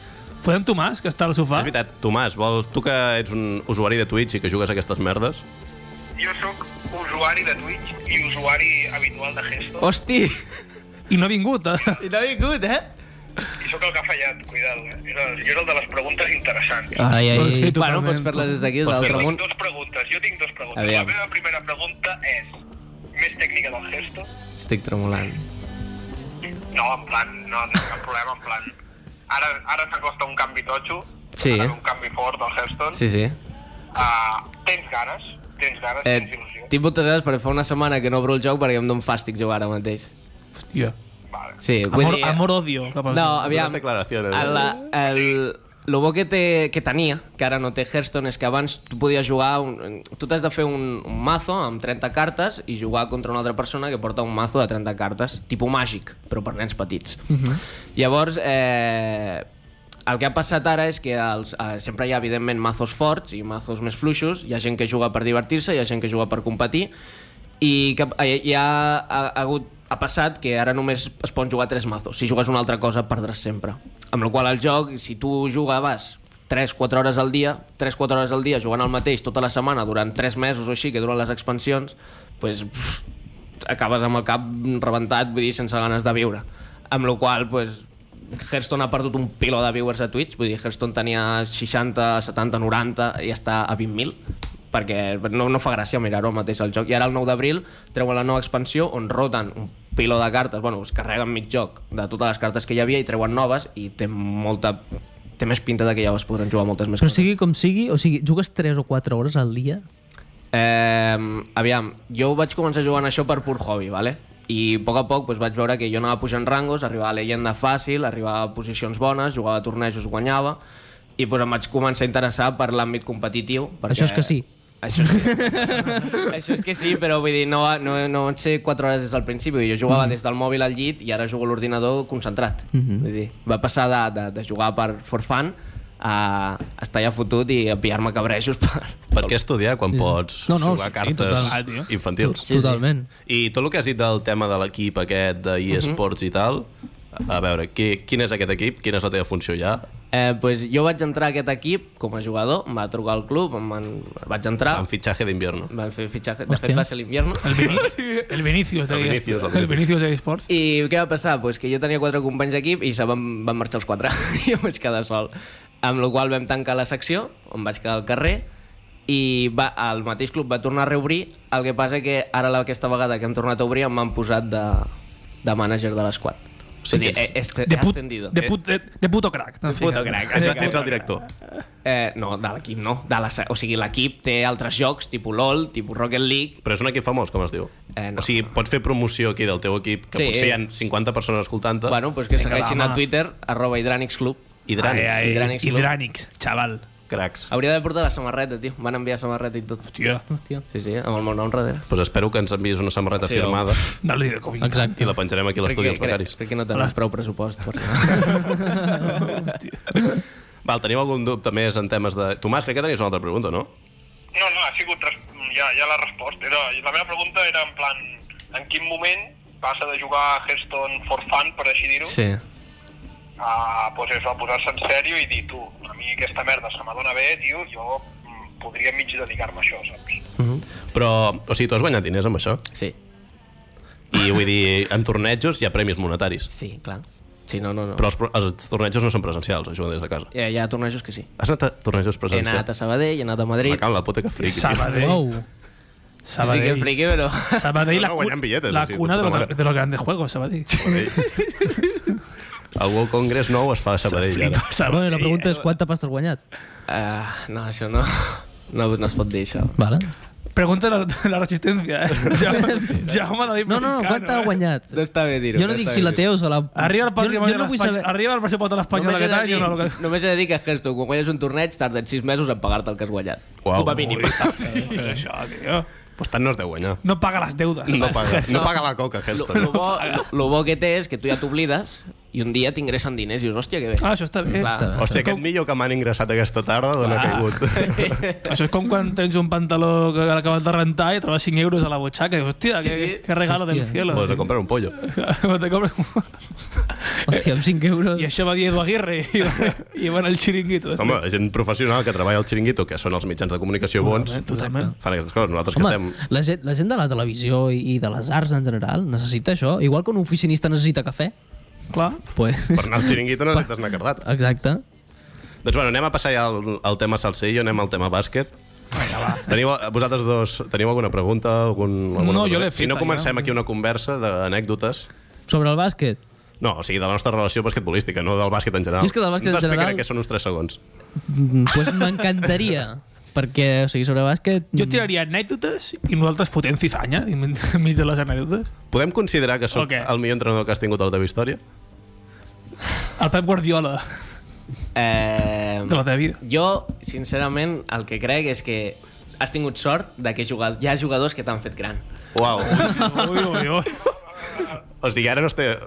Speaker 2: Podem Tomàs, que està al
Speaker 1: Ah.
Speaker 2: sofà?
Speaker 1: És veritat, Tomàs, vols, tu que ets un usuari de Twitch i que jugues a aquestes merdes,
Speaker 4: jo sóc usuari de Twitch i usuari habitual de Gesto.
Speaker 6: Hosti,
Speaker 2: I no ha vingut, eh?
Speaker 6: i no ha vingut, eh?
Speaker 4: I sóc el que ha fallat, cuidado. Eh? És el, jo és el de les preguntes interessants.
Speaker 3: Ah, ai, ai,
Speaker 2: Doncs sí,
Speaker 3: ai.
Speaker 6: bueno,
Speaker 2: totalment.
Speaker 6: pots fer-les des d'aquí, des de
Speaker 1: Pots
Speaker 6: l'altre
Speaker 4: Jo
Speaker 6: món.
Speaker 4: tinc dues preguntes, jo tinc dues preguntes.
Speaker 6: Aviam.
Speaker 4: La meva primera pregunta és més tècnica del Gesto?
Speaker 6: Estic tremolant.
Speaker 4: No, en plan, no, no cap problema, en plan... Ara, ara s'acosta un canvi totxo,
Speaker 6: Sí.
Speaker 4: ara un canvi fort del Hearthstone.
Speaker 6: Sí, sí.
Speaker 4: Uh, tens ganes? Tens ganes?
Speaker 6: Eh,
Speaker 4: tens il·lusió?
Speaker 6: tinc moltes ganes perquè fa una setmana que no obro el joc perquè em dono fàstic jugar ara mateix.
Speaker 2: Hòstia.
Speaker 4: Vale.
Speaker 6: Sí, vull
Speaker 2: Amor,
Speaker 6: dir... eh,
Speaker 2: amor-odio. cap al-
Speaker 6: No,
Speaker 1: Aviam.
Speaker 6: aviam,
Speaker 1: declaracions.
Speaker 6: a la, el, lo bo que, té, que tenia, que ara no té Hearthstone, és que abans tu podies jugar... Un, tu t'has de fer un, un mazo amb 30 cartes i jugar contra una altra persona que porta un mazo de 30 cartes, tipus màgic, però per nens petits. Uh -huh. Llavors, eh, el que ha passat ara és que els, eh, sempre hi ha, evidentment, mazos forts i mazos més fluixos. Hi ha gent que juga per divertir-se, hi ha gent que juga per competir, i que eh, hi ha, ha, ha hagut ha passat que ara només es poden jugar tres mazos. Si jugues una altra cosa, perdràs sempre. Amb la qual cosa, el joc, si tu jugaves 3-4 hores al dia, 3-4 hores al dia jugant al mateix tota la setmana durant 3 mesos o així, que duren les expansions, doncs pff, acabes amb el cap rebentat, vull dir, sense ganes de viure. Amb la qual cosa, pues, Hearthstone ha perdut un piló de viewers a Twitch, vull dir, Hearthstone tenia 60, 70, 90 i està a 20.000 perquè no, no fa gràcia mirar-ho el mateix el joc. I ara el 9 d'abril treuen la nova expansió on roten un piló de cartes, bueno, es carreguen mig joc de totes les cartes que hi havia i treuen noves i té molta... té més pinta de que ja es podran jugar moltes més
Speaker 3: Però sigui com sigui, o sigui, jugues 3 o 4 hores al dia?
Speaker 6: Eh, aviam, jo vaig començar jugant això per pur hobby, vale? i a poc a poc doncs, vaig veure que jo anava pujant rangos, arribava a llegenda fàcil, arribava a posicions bones, jugava a tornejos, guanyava, i doncs, em vaig començar a interessar per l'àmbit competitiu. Perquè...
Speaker 3: Això és que sí.
Speaker 6: Això sí. Això és que sí, però vull dir, no, no, no van ser 4 hores des del principi. Jo jugava
Speaker 3: Mm-hmm.
Speaker 6: des del mòbil al llit i ara jugo a l'ordinador concentrat. Vull dir, va passar de, de, de jugar per for fun a estar ja fotut i a pillar-me cabrejos per,
Speaker 1: Per què estudiar quan pots
Speaker 3: No, no,
Speaker 1: jugar
Speaker 3: sí,
Speaker 1: cartes
Speaker 2: total. Ah, tio.
Speaker 1: infantils?
Speaker 6: Sí, sí.
Speaker 3: Totalment.
Speaker 1: I tot el que has dit del tema de l'equip aquest
Speaker 3: Mhm.
Speaker 1: d'e-sports i tal, a veure, qui, quin és aquest equip? Quina és la teva funció ja?
Speaker 6: Eh, pues jo vaig entrar a aquest equip com a jugador, em va trucar al club, em van, vaig entrar,
Speaker 3: Ah.
Speaker 1: En fitxatge d'invierno.
Speaker 6: em van fer fitxatge, de
Speaker 3: Hòstia.
Speaker 6: fet va ser l'invierno.
Speaker 2: El, Vinici, el Vinicius de
Speaker 1: El Vinicius, el
Speaker 2: el Vinicius de Esports.
Speaker 6: I què va passar? Pues que jo tenia quatre companys d'equip i se van, van marxar els quatre. I jo em vaig quedar sol. Amb la qual vam tancar la secció, on vaig quedar al carrer, i va, el mateix club va tornar a reobrir, el que passa que ara la- aquesta vegada que hem tornat a obrir em m'han posat de, de manager de l'esquad.
Speaker 1: Sí,
Speaker 6: Vull dir,
Speaker 1: que és-
Speaker 6: he- he este-
Speaker 2: De,
Speaker 6: he
Speaker 2: put,
Speaker 6: ascendido.
Speaker 2: de, put, de, de puto crack. De
Speaker 6: puto crack.
Speaker 1: Ets, ets el director.
Speaker 6: Eh, no, de l'equip no. De la, se- o sigui, l'equip té altres jocs, tipus LOL, tipus Rocket League...
Speaker 1: Però és un equip famós, com es diu?
Speaker 6: Eh, no.
Speaker 1: O sigui, pots fer promoció aquí del teu equip, que
Speaker 6: Sí.
Speaker 1: sí. potser hi ha 50 persones escoltant-te.
Speaker 6: Bueno, pues que
Speaker 2: Vinga,
Speaker 6: segueixin
Speaker 2: va,
Speaker 6: a
Speaker 2: home.
Speaker 6: Twitter, arroba Hidranix Club.
Speaker 1: I
Speaker 2: Ai,
Speaker 1: Drani,
Speaker 2: ai,
Speaker 6: Hidranix
Speaker 2: Hidranix,
Speaker 6: Club.
Speaker 2: xaval.
Speaker 1: cracs.
Speaker 6: Hauria de portar la samarreta, tio. Em Van enviar samarreta i tot.
Speaker 2: Hòstia.
Speaker 3: Hòstia.
Speaker 6: Sí, sí, amb el meu nom darrere.
Speaker 1: Pues espero que ens enviïs una samarreta
Speaker 6: Sí,
Speaker 1: sí, firmada
Speaker 2: Dale de Covid.
Speaker 1: i
Speaker 3: Exacte.
Speaker 1: la penjarem aquí a l'estudi dels
Speaker 6: crec,
Speaker 1: becaris.
Speaker 6: crec que no tenim prou pressupost. Per...
Speaker 1: Val, teniu algun dubte més en temes de... Tomàs, crec que tenies una altra pregunta, no?
Speaker 4: No, no, ha sigut res- ja, ja la resposta. Era, la meva pregunta era en plan, en quin moment passa de jugar a Hearthstone for fun, per així dir-ho,
Speaker 6: sí.
Speaker 4: a, pues això, a posar-se en sèrio i dir, tu, a mi aquesta merda se m'adona bé, tio, jo mm, podria mig dedicar-me a això, saps?
Speaker 1: Però, o sigui, tu has guanyat diners amb això?
Speaker 6: Sí,
Speaker 1: I vull dir, en tornejos hi ha premis monetaris.
Speaker 6: sí, clar. Sí, no, no, no.
Speaker 1: Però els, pro- els tornejos no són presencials, es juguen des de casa.
Speaker 6: Hi ha, hi ha tornejos que sí.
Speaker 1: Has anat a tornejos
Speaker 6: He
Speaker 1: presencials?
Speaker 6: anat a Sabadell, he anat a Madrid.
Speaker 1: Me cago en la puta que friqui. tio.
Speaker 2: Sabadell.
Speaker 3: Wow.
Speaker 6: Sí, sí que
Speaker 2: Sabadell.
Speaker 6: friqui, però...
Speaker 2: Sabadell, la,
Speaker 1: No, no, guanyant billetes,
Speaker 2: la
Speaker 1: o sigui,
Speaker 2: cuna de,
Speaker 1: de puta
Speaker 2: los-
Speaker 1: mare.
Speaker 2: de los grandes juegos, Sabadell.
Speaker 1: El World Congress 9 es fa a Sabadell, ara.
Speaker 3: Bueno,
Speaker 2: Sabadell.
Speaker 3: la pregunta és quanta pasta has guanyat?
Speaker 6: Uh, no, això no... No, no es pot dir, això.
Speaker 3: Vale.
Speaker 2: Pregunta la, la resistencia, eh? Jaume- Jaume de
Speaker 3: No, no, no, quanta
Speaker 2: eh?
Speaker 3: has guanyat?
Speaker 6: No està bé dir-ho.
Speaker 3: Jo no
Speaker 6: està
Speaker 3: dic
Speaker 6: bé
Speaker 3: si la té
Speaker 6: dir-ho.
Speaker 3: o se la...
Speaker 2: Arriba el
Speaker 3: Jo-
Speaker 2: patrimoni
Speaker 3: jo no vull
Speaker 2: de l'Espanya.
Speaker 3: saber-
Speaker 2: Arriba el pressupost de l'Espanyol
Speaker 6: Només he,
Speaker 2: d'aquest
Speaker 6: de
Speaker 2: any.
Speaker 6: dir,
Speaker 2: o No, el que-
Speaker 6: només he de dir que Hearthstone, quan guanyes un torneig, tarden 6 mesos en pagar-te el que has guanyat.
Speaker 1: Uau.
Speaker 6: Copa mínima.
Speaker 2: Però això, tio.
Speaker 1: Pues tant no es deu guanyar.
Speaker 2: No paga les deudes.
Speaker 1: No paga, no paga la coca,
Speaker 6: Lo,
Speaker 1: Heston.
Speaker 6: lo, bo, lo, lo bo que té és que tu ja t'oblides i un dia t'ingressen diners i dius, hòstia, que bé.
Speaker 2: Ah, això està bé.
Speaker 6: Clar.
Speaker 1: Hòstia, aquest millo que m'han ingressat aquesta tarda d'on
Speaker 6: Ah.
Speaker 1: ha caigut.
Speaker 2: Això és com quan tens un pantaló que l'acabes de rentar i trobes 5 euros a la butxaca. I dius, hòstia,
Speaker 6: Sí,
Speaker 2: que,
Speaker 6: sí.
Speaker 2: que regalo del
Speaker 3: Hòstia.
Speaker 2: cielo.
Speaker 1: Pues a comprar un pollo.
Speaker 2: Te compres un-
Speaker 3: Hòstia, amb 5 euros...
Speaker 2: I això va dir Edu Aguirre, i va, i va anar al xiringuito.
Speaker 1: Home, la gent professional que treballa al xiringuito, que són els mitjans de comunicació bons,
Speaker 2: Totalment, totalment.
Speaker 1: fan aquestes coses. Nosaltres
Speaker 3: Home,
Speaker 1: que estem...
Speaker 3: la, gent, la gent de la televisió i, i de les arts en general necessita això. Igual que un oficinista necessita cafè,
Speaker 2: Clar.
Speaker 3: pues,
Speaker 1: Per anar al xiringuito necessites anar cardat.
Speaker 3: exacte.
Speaker 1: Doncs bueno, anem a passar ja al, al tema salsillo, anem al tema bàsquet. Teniu, eh, vosaltres dos, teniu alguna pregunta? Algun, alguna
Speaker 2: No,
Speaker 1: cosa?
Speaker 2: jo l'he
Speaker 1: Si no
Speaker 2: feta,
Speaker 1: comencem
Speaker 2: ja.
Speaker 1: aquí una conversa d'anècdotes...
Speaker 3: Sobre el bàsquet,
Speaker 1: No, o sigui, de la nostra relació basquetbolística, no del bàsquet en general.
Speaker 3: Jo és que del bàsquet en
Speaker 1: T'explicaré
Speaker 3: general-
Speaker 1: què són uns 3 segons.
Speaker 3: mm, pues m'encantaria. perquè, o sigui, sobre bàsquet...
Speaker 2: Jo
Speaker 3: mm,
Speaker 2: tiraria anècdotes i nosaltres fotem cizanya enmig de les anècdotes.
Speaker 1: Podem considerar que sóc
Speaker 2: O què?
Speaker 1: el millor entrenador que has tingut a la teva història?
Speaker 2: El Pep Guardiola
Speaker 6: Eh,
Speaker 2: de la teva vida.
Speaker 6: Jo, sincerament, el que crec és que has tingut sort de que jugat, hi ha jugadors que t'han fet gran.
Speaker 1: Uau.
Speaker 2: Ui, ui, ui.
Speaker 1: o sigui, ara no estic...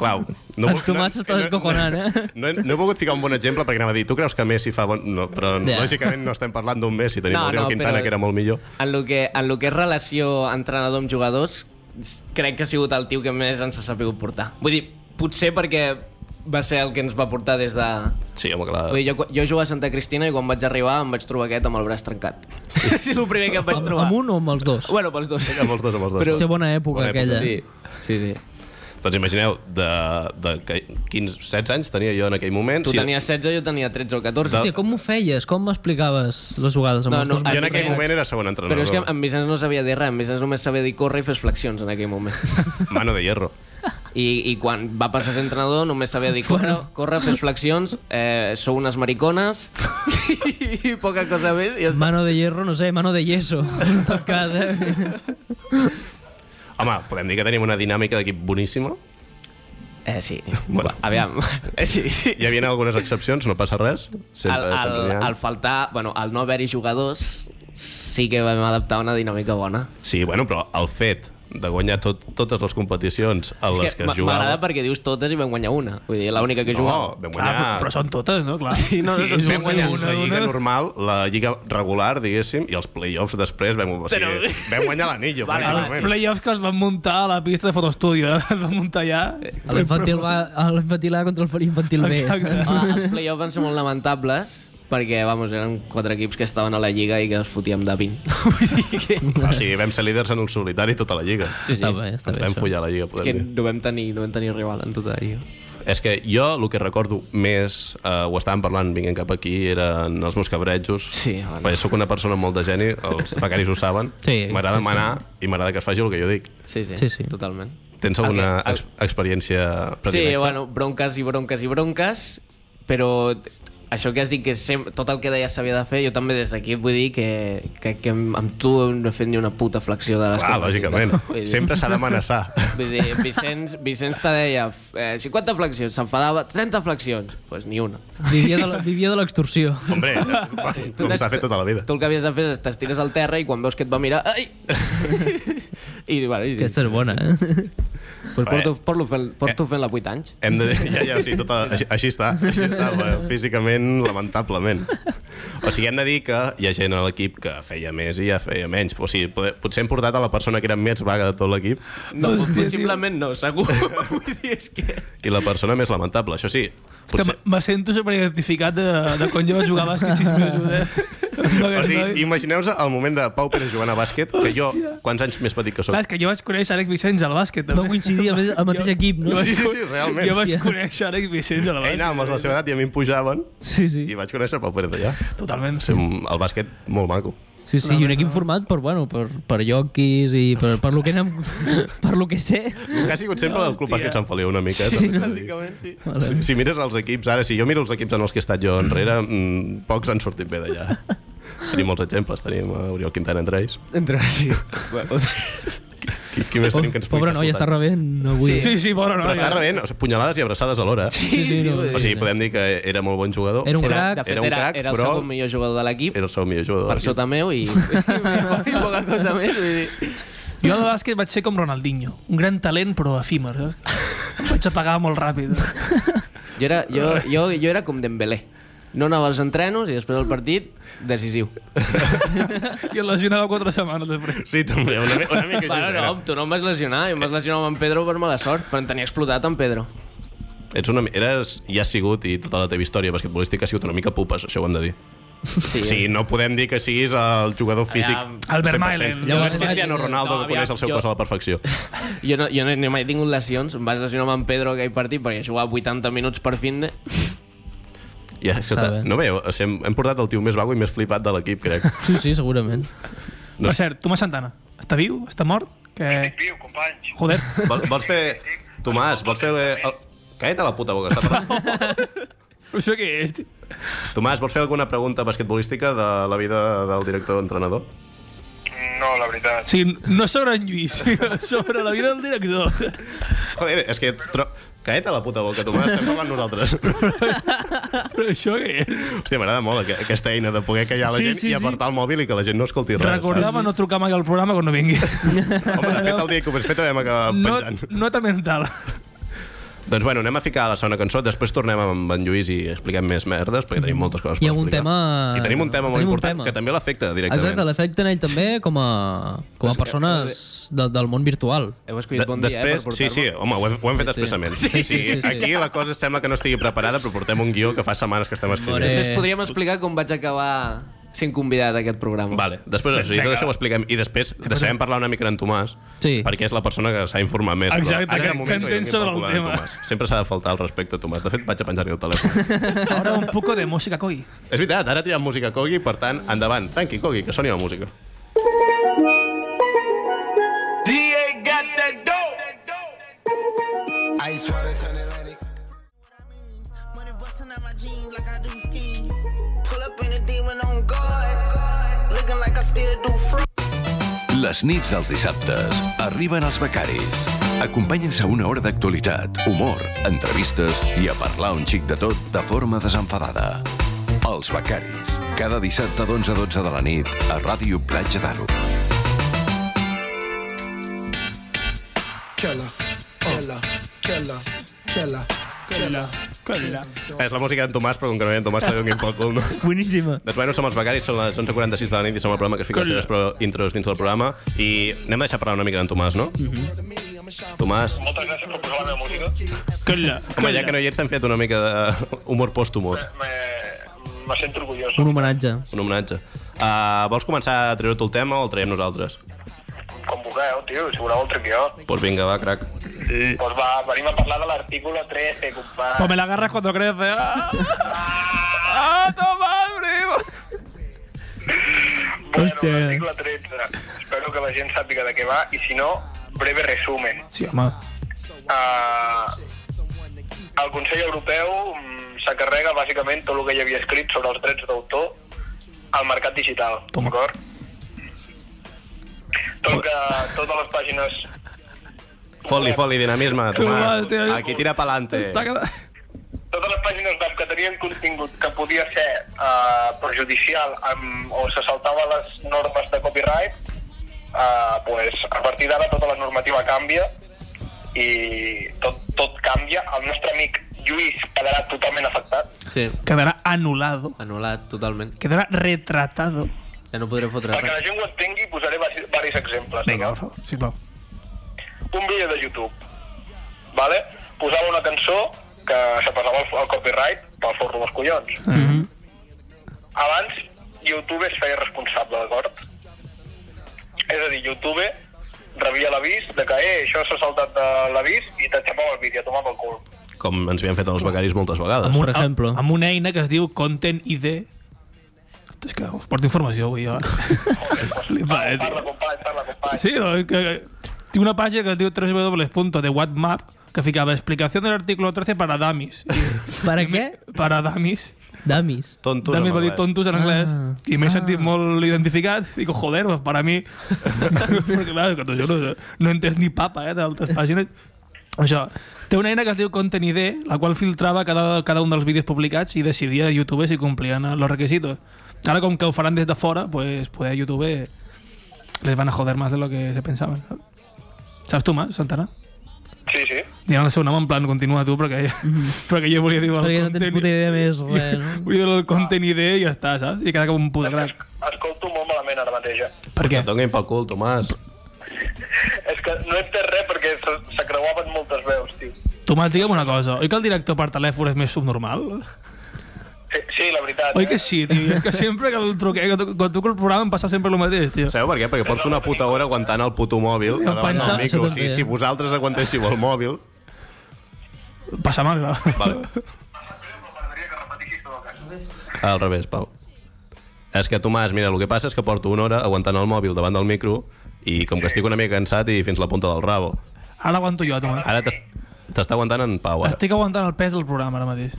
Speaker 1: Clau, no,
Speaker 3: El
Speaker 1: vol-
Speaker 3: Tomàs s'està descojonant, eh?
Speaker 1: No, he, no he volgut ficar un bon exemple perquè anava a dir, tu creus que Messi fa bon... No, però
Speaker 3: Ja.
Speaker 1: lògicament no estem parlant d'un Messi, tenim
Speaker 6: No,
Speaker 1: no, Oriol
Speaker 6: no,
Speaker 1: Quintana,
Speaker 6: però-
Speaker 1: que era molt millor.
Speaker 6: En lo que, en lo que és relació entrenador amb jugadors, s- crec que ha sigut el tio que més ens ha sabut portar. Vull dir, potser perquè va ser el que ens va portar des de...
Speaker 1: Sí, home, clar.
Speaker 6: Vull dir, jo, quan- jo jugava a Santa Cristina i quan vaig arribar em vaig trobar aquest amb el braç trencat. és el primer que em vaig
Speaker 3: amb,
Speaker 6: trobar.
Speaker 3: amb un o amb els dos?
Speaker 6: Bueno, pels dos.
Speaker 1: Amb els dos, amb els dos.
Speaker 6: Però-
Speaker 3: Hòstia, bona època,
Speaker 1: Bona època.
Speaker 3: aquella.
Speaker 6: Sí, sí, sí.
Speaker 1: Doncs imagineu, de, de que- 15, 16 anys tenia jo en aquell moment.
Speaker 6: Tu tenies 16, jo tenia 13 o 14.
Speaker 3: Hòstia, com ho feies? Com m'explicaves les jugades amb
Speaker 6: No,
Speaker 3: els
Speaker 6: no,
Speaker 3: dos?
Speaker 1: Jo en
Speaker 6: Vicenç.
Speaker 1: aquell moment era segon entrenador.
Speaker 6: Però és que en Vicenç no sabia dir res, en Vicenç només sabia dir córrer i fes flexions en aquell moment.
Speaker 1: Mano de hierro.
Speaker 6: I, i quan va passar a ser entrenador només sabia dir córrer, córrer fes flexions, eh, sou unes maricones i, poca cosa més. I ja està.
Speaker 3: Mano de hierro, no sé, mano de yeso, en tot cas, eh?
Speaker 1: Home, podem dir que tenim una dinàmica d'equip boníssima.
Speaker 6: Eh, sí,
Speaker 1: Bueno.
Speaker 6: bueno. aviam. Eh, sí, sí.
Speaker 1: Hi havia algunes excepcions, no passa res.
Speaker 6: Al,
Speaker 1: Sempre, sempre
Speaker 6: al,
Speaker 1: n'hi ha.
Speaker 6: al faltar, bueno, al no haver-hi jugadors, sí que vam adaptar una dinàmica bona.
Speaker 1: Sí, bueno, però el fet de guanyar tot, totes les competicions a les
Speaker 6: és
Speaker 1: que,
Speaker 6: que
Speaker 1: es
Speaker 6: m- m'agrada
Speaker 1: jugava...
Speaker 6: perquè dius totes i vam guanyar una. Vull dir, l'única que
Speaker 1: No,
Speaker 6: jugava.
Speaker 1: vam
Speaker 2: Clar,
Speaker 1: guanyar...
Speaker 2: però, però són totes, no? Clar. Sí,
Speaker 6: no, no,
Speaker 1: Vam
Speaker 6: sí,
Speaker 1: guanyar
Speaker 6: una,
Speaker 1: la lliga normal, la lliga regular, diguéssim, i els play-offs després vam, o sigui,
Speaker 6: Però-
Speaker 1: vam guanyar l'anillo.
Speaker 6: Vale,
Speaker 2: A
Speaker 1: pràcticament.
Speaker 2: les playoffs que els van muntar a la pista de fotoestudi, eh? els van muntar allà.
Speaker 3: A L'infantil A, a l'infantil A contra l'infantil B.
Speaker 2: Exacte.
Speaker 6: Ah, els play-offs van ser molt lamentables perquè, vamos, eren quatre equips que estaven a la Lliga i que es fotíem de 20. Vull dir que...
Speaker 1: O sigui, vam ser líders en el solitari tota la lliga.
Speaker 6: Sí,
Speaker 3: Està
Speaker 6: sí.
Speaker 3: bé, està
Speaker 1: Ens
Speaker 3: bé.
Speaker 1: vam
Speaker 3: això.
Speaker 1: follar la lliga,
Speaker 6: És
Speaker 1: podem
Speaker 6: que
Speaker 1: dir.
Speaker 6: no vam tenir, no vam tenir rival en tota la Lliga.
Speaker 1: És que jo el que recordo més, eh, ho estàvem parlant vinguent cap aquí, eren els buscabrejos.
Speaker 6: Sí, bueno.
Speaker 1: Perquè sóc una persona amb molt de geni, els becaris ho saben.
Speaker 3: Sí,
Speaker 1: M'agrada
Speaker 3: sí, sí.
Speaker 1: manar i m'agrada que es faci el que jo dic.
Speaker 6: Sí, sí,
Speaker 3: Sí, sí.
Speaker 6: totalment.
Speaker 1: Tens alguna
Speaker 6: El que- el-
Speaker 1: ex experiència predilecta?
Speaker 6: Sí, bueno, bronques i bronques i bronques, però t- això que has dit que sempre, tot el que deies s'havia de fer, jo també des d'aquí vull dir que crec que amb, amb tu no he fet ni una puta flexió de les
Speaker 1: Clar,
Speaker 6: que-
Speaker 1: lògicament.
Speaker 6: Vull dir-
Speaker 1: Sempre s'ha d'amenaçar.
Speaker 6: Vull dir, Vicenç, Vicenç te deia eh, 50 flexions, s'enfadava, 30 flexions, doncs pues ni una.
Speaker 3: Vivia de la- vivia de l'extorsió.
Speaker 1: Hombre, com s'ha fet tota la vida.
Speaker 6: Tu el que havies de fer és t'estires al terra i quan veus que et va mirar... Ai! I, bueno, i,
Speaker 3: Aquesta és bona, eh?
Speaker 6: pues
Speaker 1: Bé.
Speaker 6: porto, porto, fent, porto fent-la 8 anys.
Speaker 1: Hem de dir, ja, ja, sí, tota, així, així està, així està, va, físicament, lamentablement. O sigui, hem de dir que hi ha gent a l'equip que feia més i ja feia menys. O sigui, pot- potser hem portat a la persona que era més vaga de tot l'equip
Speaker 6: No, possiblement no, segur. Vull dir, és que...
Speaker 1: i la persona més lamentable. Això sí,
Speaker 2: Que
Speaker 1: potser...
Speaker 2: me- me sento superidentificat de, de quan jo vaig jugar a bàsquet 6 mesos, eh? No,
Speaker 1: O sigui,
Speaker 2: sigui,
Speaker 1: imagineu-vos el moment de Pau Pérez jugant a bàsquet, que jo, quants anys més petit que
Speaker 2: Clar,
Speaker 1: sóc.
Speaker 2: és que jo vaig conèixer Àlex Vicenç al bàsquet, també.
Speaker 3: Vau coincidir al mes- al mateix equip, no?
Speaker 1: Sí, sí, sí, realment.
Speaker 2: Jo vaig
Speaker 3: Hòstia.
Speaker 2: conèixer Àlex Vicenç al
Speaker 1: Ell
Speaker 2: bàsquet.
Speaker 1: anàvem als de la seva edat i a mi em pujaven
Speaker 3: Sí, sí.
Speaker 1: i vaig conèixer Pau Pérez allà.
Speaker 2: Totalment.
Speaker 1: Sí, el bàsquet molt maco.
Speaker 3: Sí, sí, i un equip format per, bueno, per, per lloquis i per, per lo que anem, per lo que sé.
Speaker 1: El que ha sigut sempre el Club
Speaker 2: Hòstia.
Speaker 1: Bàsquet Sant Feliu, una mica. eh,
Speaker 3: Sí,
Speaker 1: també
Speaker 3: no?
Speaker 1: t'ho dic.
Speaker 6: sí.
Speaker 3: Vale.
Speaker 1: Si mires els equips, ara, si jo miro els equips en els que he estat jo enrere, mmm, pocs han sortit bé d'allà. Tenim molts exemples, tenim a Oriol Quintana entre ells.
Speaker 6: Entre sí.
Speaker 1: Qui, qui més tenim que ens pugui
Speaker 3: Pobre noi, està
Speaker 1: escoltar?
Speaker 3: rebent avui.
Speaker 2: Sí, sí, bona
Speaker 1: Però està
Speaker 2: noia.
Speaker 1: rebent o sigui, punyalades i abraçades alhora. Sí,
Speaker 3: sí, sí, no.
Speaker 1: o sigui, podem dir que era molt bon jugador.
Speaker 3: Era un
Speaker 1: però
Speaker 3: crac.
Speaker 6: De fet,
Speaker 1: Era un
Speaker 6: era,
Speaker 1: crac,
Speaker 6: era el
Speaker 1: però-
Speaker 6: segon millor jugador de l'equip,
Speaker 1: Era el seu millor jugador.
Speaker 6: per sota meu, i, i poca cosa més. Vull dir.
Speaker 2: Jo al bàsquet vaig ser com Ronaldinho, un gran talent però efímer, saps? Vaig apagar molt ràpid.
Speaker 6: Jo, era, jo, jo, jo era com Dembélé. No anava als entrenos i després del partit, decisiu.
Speaker 2: I el lesionava quatre setmanes després.
Speaker 1: Sí, també, una, mi- una mica així.
Speaker 6: Bueno, no,
Speaker 1: era.
Speaker 6: tu no em vas lesionar, jo em vas lesionar amb en Pedro per mala sort, però em tenia explotat en Pedro.
Speaker 1: Ets una, mi- eres, i has sigut, i tota la teva història basquetbolística ha sigut una mica pupes, això ho hem de dir. Sí, sí no podem dir que siguis el jugador físic
Speaker 6: Aviam.
Speaker 1: 100%.
Speaker 2: Albert Mailen.
Speaker 1: Jo veig
Speaker 3: Llavors,
Speaker 1: Cristiano Ronaldo
Speaker 6: no,
Speaker 1: que coneix
Speaker 6: aviam,
Speaker 1: el seu
Speaker 6: jo-
Speaker 1: cos a la perfecció.
Speaker 6: Jo no, jo no, no he mai tingut lesions, em vaig lesionar amb en Pedro aquell partit perquè jugava 80 minuts per fin de...
Speaker 1: Ja, és que
Speaker 3: Està
Speaker 1: està-
Speaker 3: bé.
Speaker 1: no veieu? O sigui, hem, hem portat el tio més vago i més flipat de l'equip, crec.
Speaker 3: Sí, sí, segurament.
Speaker 1: No.
Speaker 2: No. Per cert, Tomàs Santana, està viu? Està mort? Que...
Speaker 4: Viu, companys.
Speaker 2: Joder.
Speaker 1: Vol, vols fer... Tomàs, vols fer... eh, El... Caeta la puta boca, està parlant.
Speaker 2: Això què és? tio?
Speaker 1: Tomàs, vols fer alguna pregunta basquetbolística de la vida del director-entrenador?
Speaker 4: No, la veritat.
Speaker 2: O sigui, no sobre en Lluís, sinó sobre la vida del director.
Speaker 1: Joder, és que... Tro... Caeta la puta boca, Tomàs, estem parlant nosaltres.
Speaker 2: Però això què és?
Speaker 1: Hòstia, m'agrada molt aqu- aquesta eina de poder callar la
Speaker 2: Sí,
Speaker 1: gent
Speaker 2: sí,
Speaker 1: i
Speaker 2: sí.
Speaker 1: apartar el mòbil i que la gent no escolti res.
Speaker 2: Recordava no trucar mai al programa quan no vingui.
Speaker 1: saps? Home, de fet, el dia que ho vaig fer també vam acabar
Speaker 2: No,
Speaker 1: penjant.
Speaker 2: nota mental.
Speaker 1: Doncs bueno, anem a ficar la segona cançó, després tornem amb en Lluís i expliquem més merdes, perquè tenim moltes coses
Speaker 3: Hi ha
Speaker 1: per
Speaker 3: un
Speaker 1: explicar.
Speaker 3: tema-
Speaker 1: I tenim un tema molt
Speaker 3: tenim un
Speaker 1: important
Speaker 3: tema.
Speaker 1: que també l'afecta directament.
Speaker 3: Exacte, l'efecte en ell també com a, com a persones de, del món virtual.
Speaker 6: Heu escollit bon dia, eh,
Speaker 1: després,
Speaker 6: per
Speaker 1: sí, sí, home, ho hem, ho hem fet
Speaker 3: Sí, sí.
Speaker 1: expressament.
Speaker 3: Sí, sí, sí, sí, sí.
Speaker 1: Aquí la cosa sembla que no estigui preparada, però portem un guió que fa setmanes que estem escrivint.
Speaker 3: More.
Speaker 6: Després podríem explicar com vaig acabar sent convidat a aquest programa.
Speaker 1: Vale, després això, i tot això ho expliquem. I després deixarem parlar una mica en Tomàs,
Speaker 3: Sí.
Speaker 1: perquè és la persona que s'ha informat més. però
Speaker 2: Exacte,
Speaker 1: a cada
Speaker 2: que-
Speaker 1: moment
Speaker 2: que
Speaker 1: li
Speaker 2: entén
Speaker 1: donem
Speaker 2: sobre el
Speaker 1: pel cul a en
Speaker 2: tema.
Speaker 1: Tomàs. Sempre s'ha de faltar el respecte a Tomàs. De fet, vaig a penjar-li el telèfon.
Speaker 2: Ara un poco de música, coi.
Speaker 1: és veritat, ara tirem música Kogi, per tant, endavant. Tranqui, Kogi, que soni la música.
Speaker 7: DA got that dope. Ice water turn Atlantic.
Speaker 8: Money bustin' out my jeans like I do ski. Pull up in a demon on guard. Looking like I still do fraud.
Speaker 9: Les nits dels dissabtes arriben els becaris. Acompanyen-se a una hora d'actualitat, humor, entrevistes i a parlar un xic de tot de forma desenfadada. Els becaris. Cada dissabte d'11 a 12 de la nit a Ràdio Platja d'Aro.
Speaker 7: Killer, killer, killer, killer, killer.
Speaker 2: Colla.
Speaker 1: És la música d'en Tomàs, però com que no hi ha en Tomàs, també donem pel cul, no?
Speaker 3: Boníssima.
Speaker 1: Doncs bueno, som els becaris, són les 11.46 de la nit i som el programa que es fica les seves pro- intros dins del programa i anem a deixar parlar una mica d'en Tomàs, no? Mm
Speaker 2: Mhm.
Speaker 1: -hmm. Tomàs,
Speaker 4: Moltes gràcies per posar la meva música.
Speaker 2: Colla.
Speaker 1: home, ja que no hi ets, t'hem fet una mica de humor pòstumor,
Speaker 4: Me, me sento orgullós.
Speaker 3: Un homenatge.
Speaker 1: un homenatge. Uh, vols començar a treure tu el tema o el traiem nosaltres?
Speaker 4: Com vulgueu, tio, si voleu el trec jo.
Speaker 1: Doncs pues vinga, va, crac.
Speaker 4: Doncs va, venim a parlar de l'artículo 13, company.
Speaker 2: Pues me la agarras cuando crece. ¡Ah! ¡Ah, Tomás, primo!
Speaker 4: Bueno,
Speaker 3: Hòstia.
Speaker 4: l'article 13. Espero que la gent sàpiga de què va i si no, breve resumen.
Speaker 2: Sí, home.
Speaker 4: Uh, el Consell Europeu mm, s'encarrega bàsicament tot el que hi havia escrit sobre els drets d'autor al mercat digital, d'acord? Tot que, totes les pàgines...
Speaker 1: Foli, foli, dinamisme,
Speaker 2: mal,
Speaker 1: Tomàs.
Speaker 2: tio.
Speaker 1: Aquí tira pa'lante.
Speaker 2: T'ha quedat...
Speaker 4: Totes les pàgines web que tenien contingut que podia ser uh, perjudicial amb, o se saltava les normes de copyright, uh, pues, a partir d'ara tota la normativa canvia i tot, tot canvia. El nostre amic Lluís quedarà totalment afectat.
Speaker 6: Sí,
Speaker 2: Quedarà anul·lado.
Speaker 6: anul·lat totalment.
Speaker 2: Quedarà retratado.
Speaker 6: Ja no podré fotre
Speaker 4: Perquè
Speaker 6: res.
Speaker 4: la gent ho entengui, posaré diversos exemples.
Speaker 2: Vinga,
Speaker 4: d'acord?
Speaker 2: per favor, sisplau.
Speaker 4: un vídeo de YouTube, vale? posava una cançó que se passava el, el copyright pel forro dels collons.
Speaker 2: Mm-hmm.
Speaker 4: Mm -hmm. Abans, YouTube es feia responsable, d'acord? És a dir, YouTube rebia l'avís de que eh, això s'ha saltat de l'avís i t'enxapava el vídeo, tomava el cul.
Speaker 1: Com ens havien fet els becaris moltes vegades.
Speaker 3: Per exemple.
Speaker 2: Amb, amb una eina que es diu Content ID. Hosti, És que us porto informació avui, jo. eh? Flipa, eh,
Speaker 4: Parla,
Speaker 2: tio.
Speaker 4: company, parla, company.
Speaker 2: Sí, no, és que, que- tinc una pàgina que es diu www.thewhatmap que ficava explicació del artículo 13 para dummies.
Speaker 3: Per a què?
Speaker 2: Para dummies.
Speaker 3: Damis.
Speaker 1: Tontos
Speaker 2: Dummies
Speaker 1: amb
Speaker 2: vol dir
Speaker 1: anglès.
Speaker 2: tontos en anglès.
Speaker 3: Ah,
Speaker 2: I m'he sentit molt identificat. Dic, joder, pues para mi. Perquè, clar, que t'ho juro, no he entès ni papa, eh, d'altres pàgines. Això, té una eina que es diu Content ID, la qual filtrava cada, cada un dels vídeos publicats i decidia a YouTube si complien els requisitos. Ara, com que ho faran des de fora, pues, poder a YouTube les van a joder más de lo que se pensaven. Saps tu, Mas, Santana?
Speaker 4: sí. sí.
Speaker 2: Dient el seu nom en plan, continua tu, perquè, perquè jo volia dir... el
Speaker 3: Mm-hmm. Perquè no tens
Speaker 2: Content-
Speaker 3: puta idea més res, no?
Speaker 2: Volia dir el Content ID i ja està, saps? I queda com un puta crac.
Speaker 4: Escolto molt malament ara mateix. eh?
Speaker 2: Per què?
Speaker 1: Et donin pel cul, Tomàs.
Speaker 4: És que no he entès res perquè se, se creuaven moltes veus, tio.
Speaker 2: Tomàs, digue'm una cosa. Oi que el director per telèfon és més subnormal?
Speaker 4: Sí, sí la veritat.
Speaker 2: Oi que
Speaker 4: eh?
Speaker 2: sí, tio? És que sempre que el truqué, que tu- quan truco el programa em passa sempre el mateix, tio.
Speaker 1: Sabeu per què? Perquè porto una puta hora aguantant el puto mòbil
Speaker 2: I em
Speaker 1: davant
Speaker 2: pensa-
Speaker 1: del micro.
Speaker 3: Això
Speaker 1: Si,
Speaker 3: també, eh?
Speaker 1: si vosaltres aguantéssiu el mòbil...
Speaker 2: Passa mal, clar.
Speaker 1: Vale. Al revés, Pau. És que, Tomàs, mira, el que passa és que porto una hora aguantant el mòbil davant del micro i com que estic una mica cansat i fins la punta del rabo.
Speaker 2: Ara aguanto jo, Tomàs.
Speaker 1: Ara t'es- t'està aguantant en Pau, ara.
Speaker 2: Estic aguantant el pes del programa ara mateix.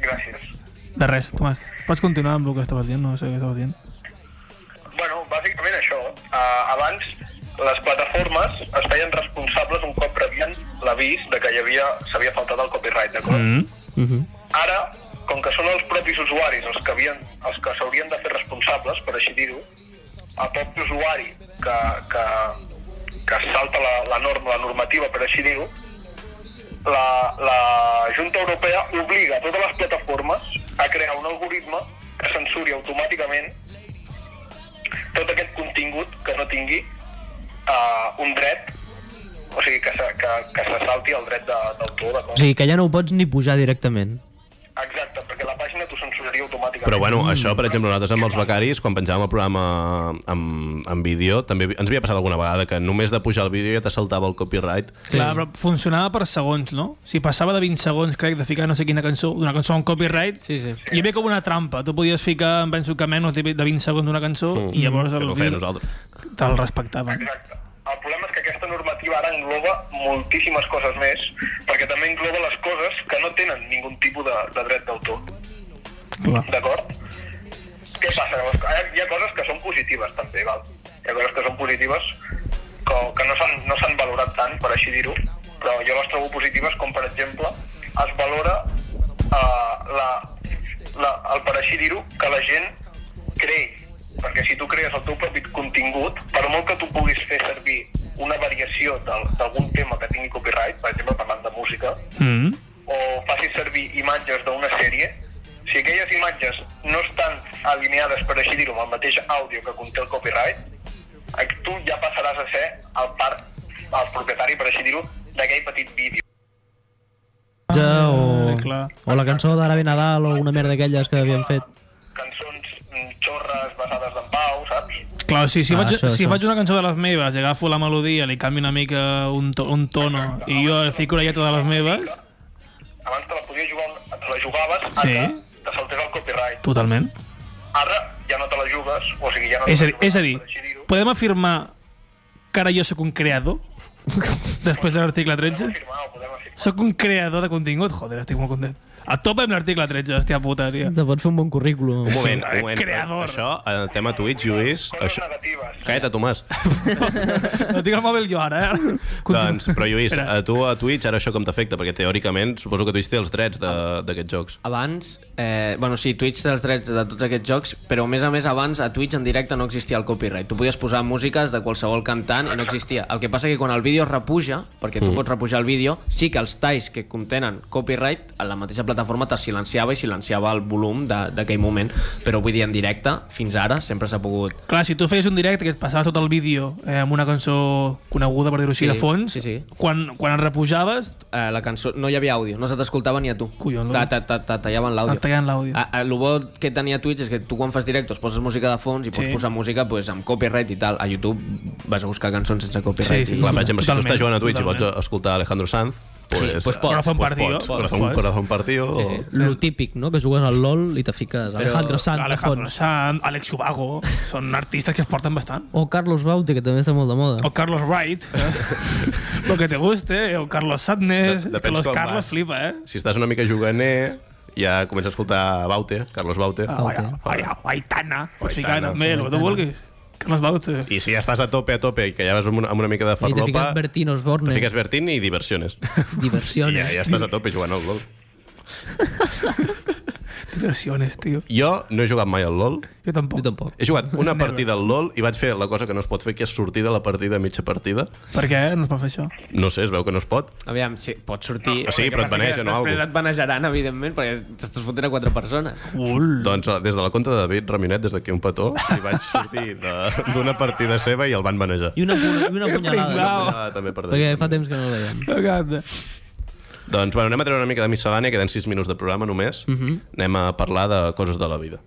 Speaker 4: Gràcies.
Speaker 2: De res, Tomàs. Pots continuar amb el que estaves dient? No sé què estaves dient.
Speaker 4: Bueno, bàsicament això. Uh, abans les plataformes es feien responsables un cop rebien l'avís de que hi havia s'havia faltat el copyright, d'acord? Mm
Speaker 3: Mhm.
Speaker 4: -hmm. Ara, com que són els propis usuaris els que havien, els que s'haurien de fer responsables, per així dir-ho, el propi usuari que, que, que es salta la, la norma, la normativa, per així dir-ho, la, la Junta Europea obliga a totes les plataformes a crear un algoritme que censuri automàticament tot aquest contingut que no tingui uh, un dret, o sigui, que se, que, que se salti el dret de- d'autor. De,
Speaker 3: O
Speaker 4: sí.
Speaker 3: sigui, que ja no ho pots ni pujar directament.
Speaker 4: Exacte, perquè la pàgina t'ho censuraria automàticament.
Speaker 1: Però bueno, això, per exemple, nosaltres amb els becaris, quan penjàvem el programa en, en vídeo, també ens havia passat alguna vegada que només de pujar el vídeo ja t'assaltava el copyright.
Speaker 2: Clar, però funcionava per segons, no? Si passava de 20 segons, crec, de ficar no sé quina cançó, d'una cançó en copyright,
Speaker 6: Sí, sí.
Speaker 2: hi havia com una trampa. Tu podies ficar, em penso que menys de 20 segons d'una cançó i llavors
Speaker 1: Mm. Que
Speaker 2: el,
Speaker 1: ho feia nosaltres.
Speaker 2: te'l respectaven.
Speaker 4: Exacte. El problema és que aquesta normativa ara engloba moltíssimes coses més, perquè també engloba les coses que no tenen ningun tipus de, de dret d'autor.
Speaker 2: Clar.
Speaker 4: D'acord? Què passa? Llavors, hi ha, hi ha coses que són positives, també, val? Hi ha coses que són positives que, que no s'han no s'han valorat tant, per així dir-ho, però jo les trobo positives, com per exemple es valora eh, la, la, el, per així dir-ho, que la gent creï. Perquè si tu crees el teu propi contingut, per molt que tu puguis fer servir una variació del- d'algun tema que tingui copyright, per exemple, parlant de música,
Speaker 2: Mm.
Speaker 4: o facis servir imatges d'una sèrie, si aquelles imatges no estan alineades, per així dir-ho, amb el mateix àudio que conté el copyright, ac- tu ja passaràs a ser el, part, el propietari, per així dir-ho, d'aquell petit vídeo.
Speaker 3: Ja, o,
Speaker 2: Ah, clar.
Speaker 3: o la cançó d'Arabi Nadal o una merda d'aquelles que havien fet.
Speaker 4: Cançons mm, xorres basades en pau, saps?
Speaker 2: Clar, o sigui, si,
Speaker 3: Ah,
Speaker 2: faig,
Speaker 3: això,
Speaker 2: si
Speaker 3: això.
Speaker 2: faig una cançó de les meves i agafo la melodia, li canvio una mica un, to, un tono i jo fico la lletra de les meves,
Speaker 4: Abans te la podies jugar, te la jugaves,
Speaker 2: Sí.
Speaker 4: ara te saltés el copyright.
Speaker 2: totalment.
Speaker 4: Ara ja no te la jugues, o sigui, ja no
Speaker 2: És
Speaker 4: te
Speaker 2: a
Speaker 4: la
Speaker 2: dir,
Speaker 4: jugues,
Speaker 2: és a dir
Speaker 4: per així dir-ho.
Speaker 2: podem afirmar que ara jo sóc un creador? Després de l'article 13?
Speaker 4: Afirmar, ho podem afirmar.
Speaker 2: Sóc un creador de contingut? Joder, estic molt content. A tope amb l'article 13, hòstia puta, tia.
Speaker 3: Te pots fer un bon currículum.
Speaker 1: Un moment, un moment. eh,
Speaker 2: creador.
Speaker 1: Això, el tema Twitch, Lluís...
Speaker 4: Coses
Speaker 1: Això...
Speaker 4: negatives.
Speaker 1: Caeta, Tomàs.
Speaker 2: No tinc el mòbil jo ara, eh? Continua.
Speaker 1: Doncs, però Lluís,
Speaker 2: Espera.
Speaker 1: a tu a Twitch ara això com t'afecta? Perquè teòricament suposo que Twitch té els drets de- d'aquests jocs.
Speaker 6: Abans, eh, bueno, sí, Twitch té els drets de tots aquests jocs, però a més a més abans a Twitch en directe no existia el copyright. Tu podies posar músiques de qualsevol cantant i no existia. El que passa que quan el vídeo es repuja, perquè tu pots repujar el vídeo, sí que els talls que contenen copyright a la mateixa plataforma te silenciava i silenciava el volum de- d'aquell moment. Però vull dir, en directe, fins ara, sempre s'ha pogut...
Speaker 2: Clar, si tu feies un directe que et passaves tot el vídeo eh, amb una cançó coneguda, per dir-ho així,
Speaker 6: Sí,
Speaker 2: de fons,
Speaker 6: sí, sí.
Speaker 2: Quan, quan en repujaves,
Speaker 6: Eh, la cançó, no hi havia àudio, no se t'escoltava ni a tu.
Speaker 2: Collons.
Speaker 6: Ta- ta- ta- ta- tallaven l'àudio.
Speaker 2: et tallaven l'àudio.
Speaker 6: A- a- El bo que tenia Twitch és que tu quan fas directes poses música de fons i pots
Speaker 2: Sí.
Speaker 6: posar música pues, amb copyright i tal. A YouTube vas a buscar cançons sense
Speaker 2: Sí,
Speaker 6: copyright.
Speaker 2: sí.
Speaker 6: I-
Speaker 1: Clar, per exemple, si tu
Speaker 2: Totalment,
Speaker 1: estàs jugant a Twitch
Speaker 2: totalment.
Speaker 1: i vols escoltar Alejandro Sanz, pues,
Speaker 6: pues pots.
Speaker 2: Corazón partido,
Speaker 1: Pots,
Speaker 2: pots,
Speaker 1: corazón,
Speaker 2: pots.
Speaker 1: corazón partido. Sí, sí.
Speaker 3: Lo típic, no? Que jugues al LOL i te fiques Alejandro Sanz de
Speaker 2: Alejandro
Speaker 3: fons.
Speaker 2: Sant, Alex Ubago, són artistes que es porten bastant.
Speaker 3: O Carlos Bauti, que també està molt de moda.
Speaker 2: O Carlos Wright, eh? lo que te guste, eh? o Carlos
Speaker 1: De-
Speaker 2: Sadness, de,
Speaker 1: depèn
Speaker 2: que los
Speaker 1: com
Speaker 2: Carlos
Speaker 1: vas.
Speaker 2: flipa, eh?
Speaker 1: Si estàs una mica juganer, ja comença a escoltar Baute, Carlos Baute.
Speaker 2: Ah, ai, ai, ai, Aitana, pots ficar
Speaker 1: Aitana.
Speaker 2: també, el que tu vulguis. Carlos eh, Baute.
Speaker 1: I si ja estàs a tope, a tope, i que ja vas amb una, amb una mica de
Speaker 3: I te
Speaker 1: farlopa,
Speaker 3: fiques Bertín Osborne.
Speaker 1: te fiques Bertín i diversiones. I
Speaker 3: Diversiones.
Speaker 1: ja, ja estàs a tope jugant al LOL.
Speaker 2: Diversiones, tio.
Speaker 1: Jo no he jugat mai al LOL.
Speaker 2: Jo tampoc.
Speaker 3: Jo tampoc.
Speaker 1: He jugat una partida al LOL i vaig fer la cosa que no es pot fer, que és sortir de la partida a mitja partida.
Speaker 2: Per què no es va fer això?
Speaker 1: No sé, es veu que no es pot.
Speaker 6: Aviam, Ah, sí, pots sortir...
Speaker 1: O sigui,
Speaker 6: el que
Speaker 1: però et
Speaker 6: passa
Speaker 1: banegen
Speaker 6: que
Speaker 1: o
Speaker 6: Després
Speaker 1: alguna
Speaker 6: et banejaran, evidentment, perquè t'estàs fotent a quatre persones.
Speaker 2: Ul.
Speaker 1: Doncs eh, des de la conta de David Ramonet, des d'aquí un petó, i vaig sortir de- d'una partida seva i el van manejar.
Speaker 3: I una, pu- i una punyalada.
Speaker 2: pringao.
Speaker 1: Ah, també per
Speaker 3: Perquè
Speaker 1: David.
Speaker 3: fa temps que no el veiem.
Speaker 2: M'encanta.
Speaker 1: Doncs bueno, anem a treure una mica de miscel·lània, queden 6 minuts de programa només. Uh -huh.
Speaker 6: Mhm.
Speaker 1: Anem a parlar de coses de la vida.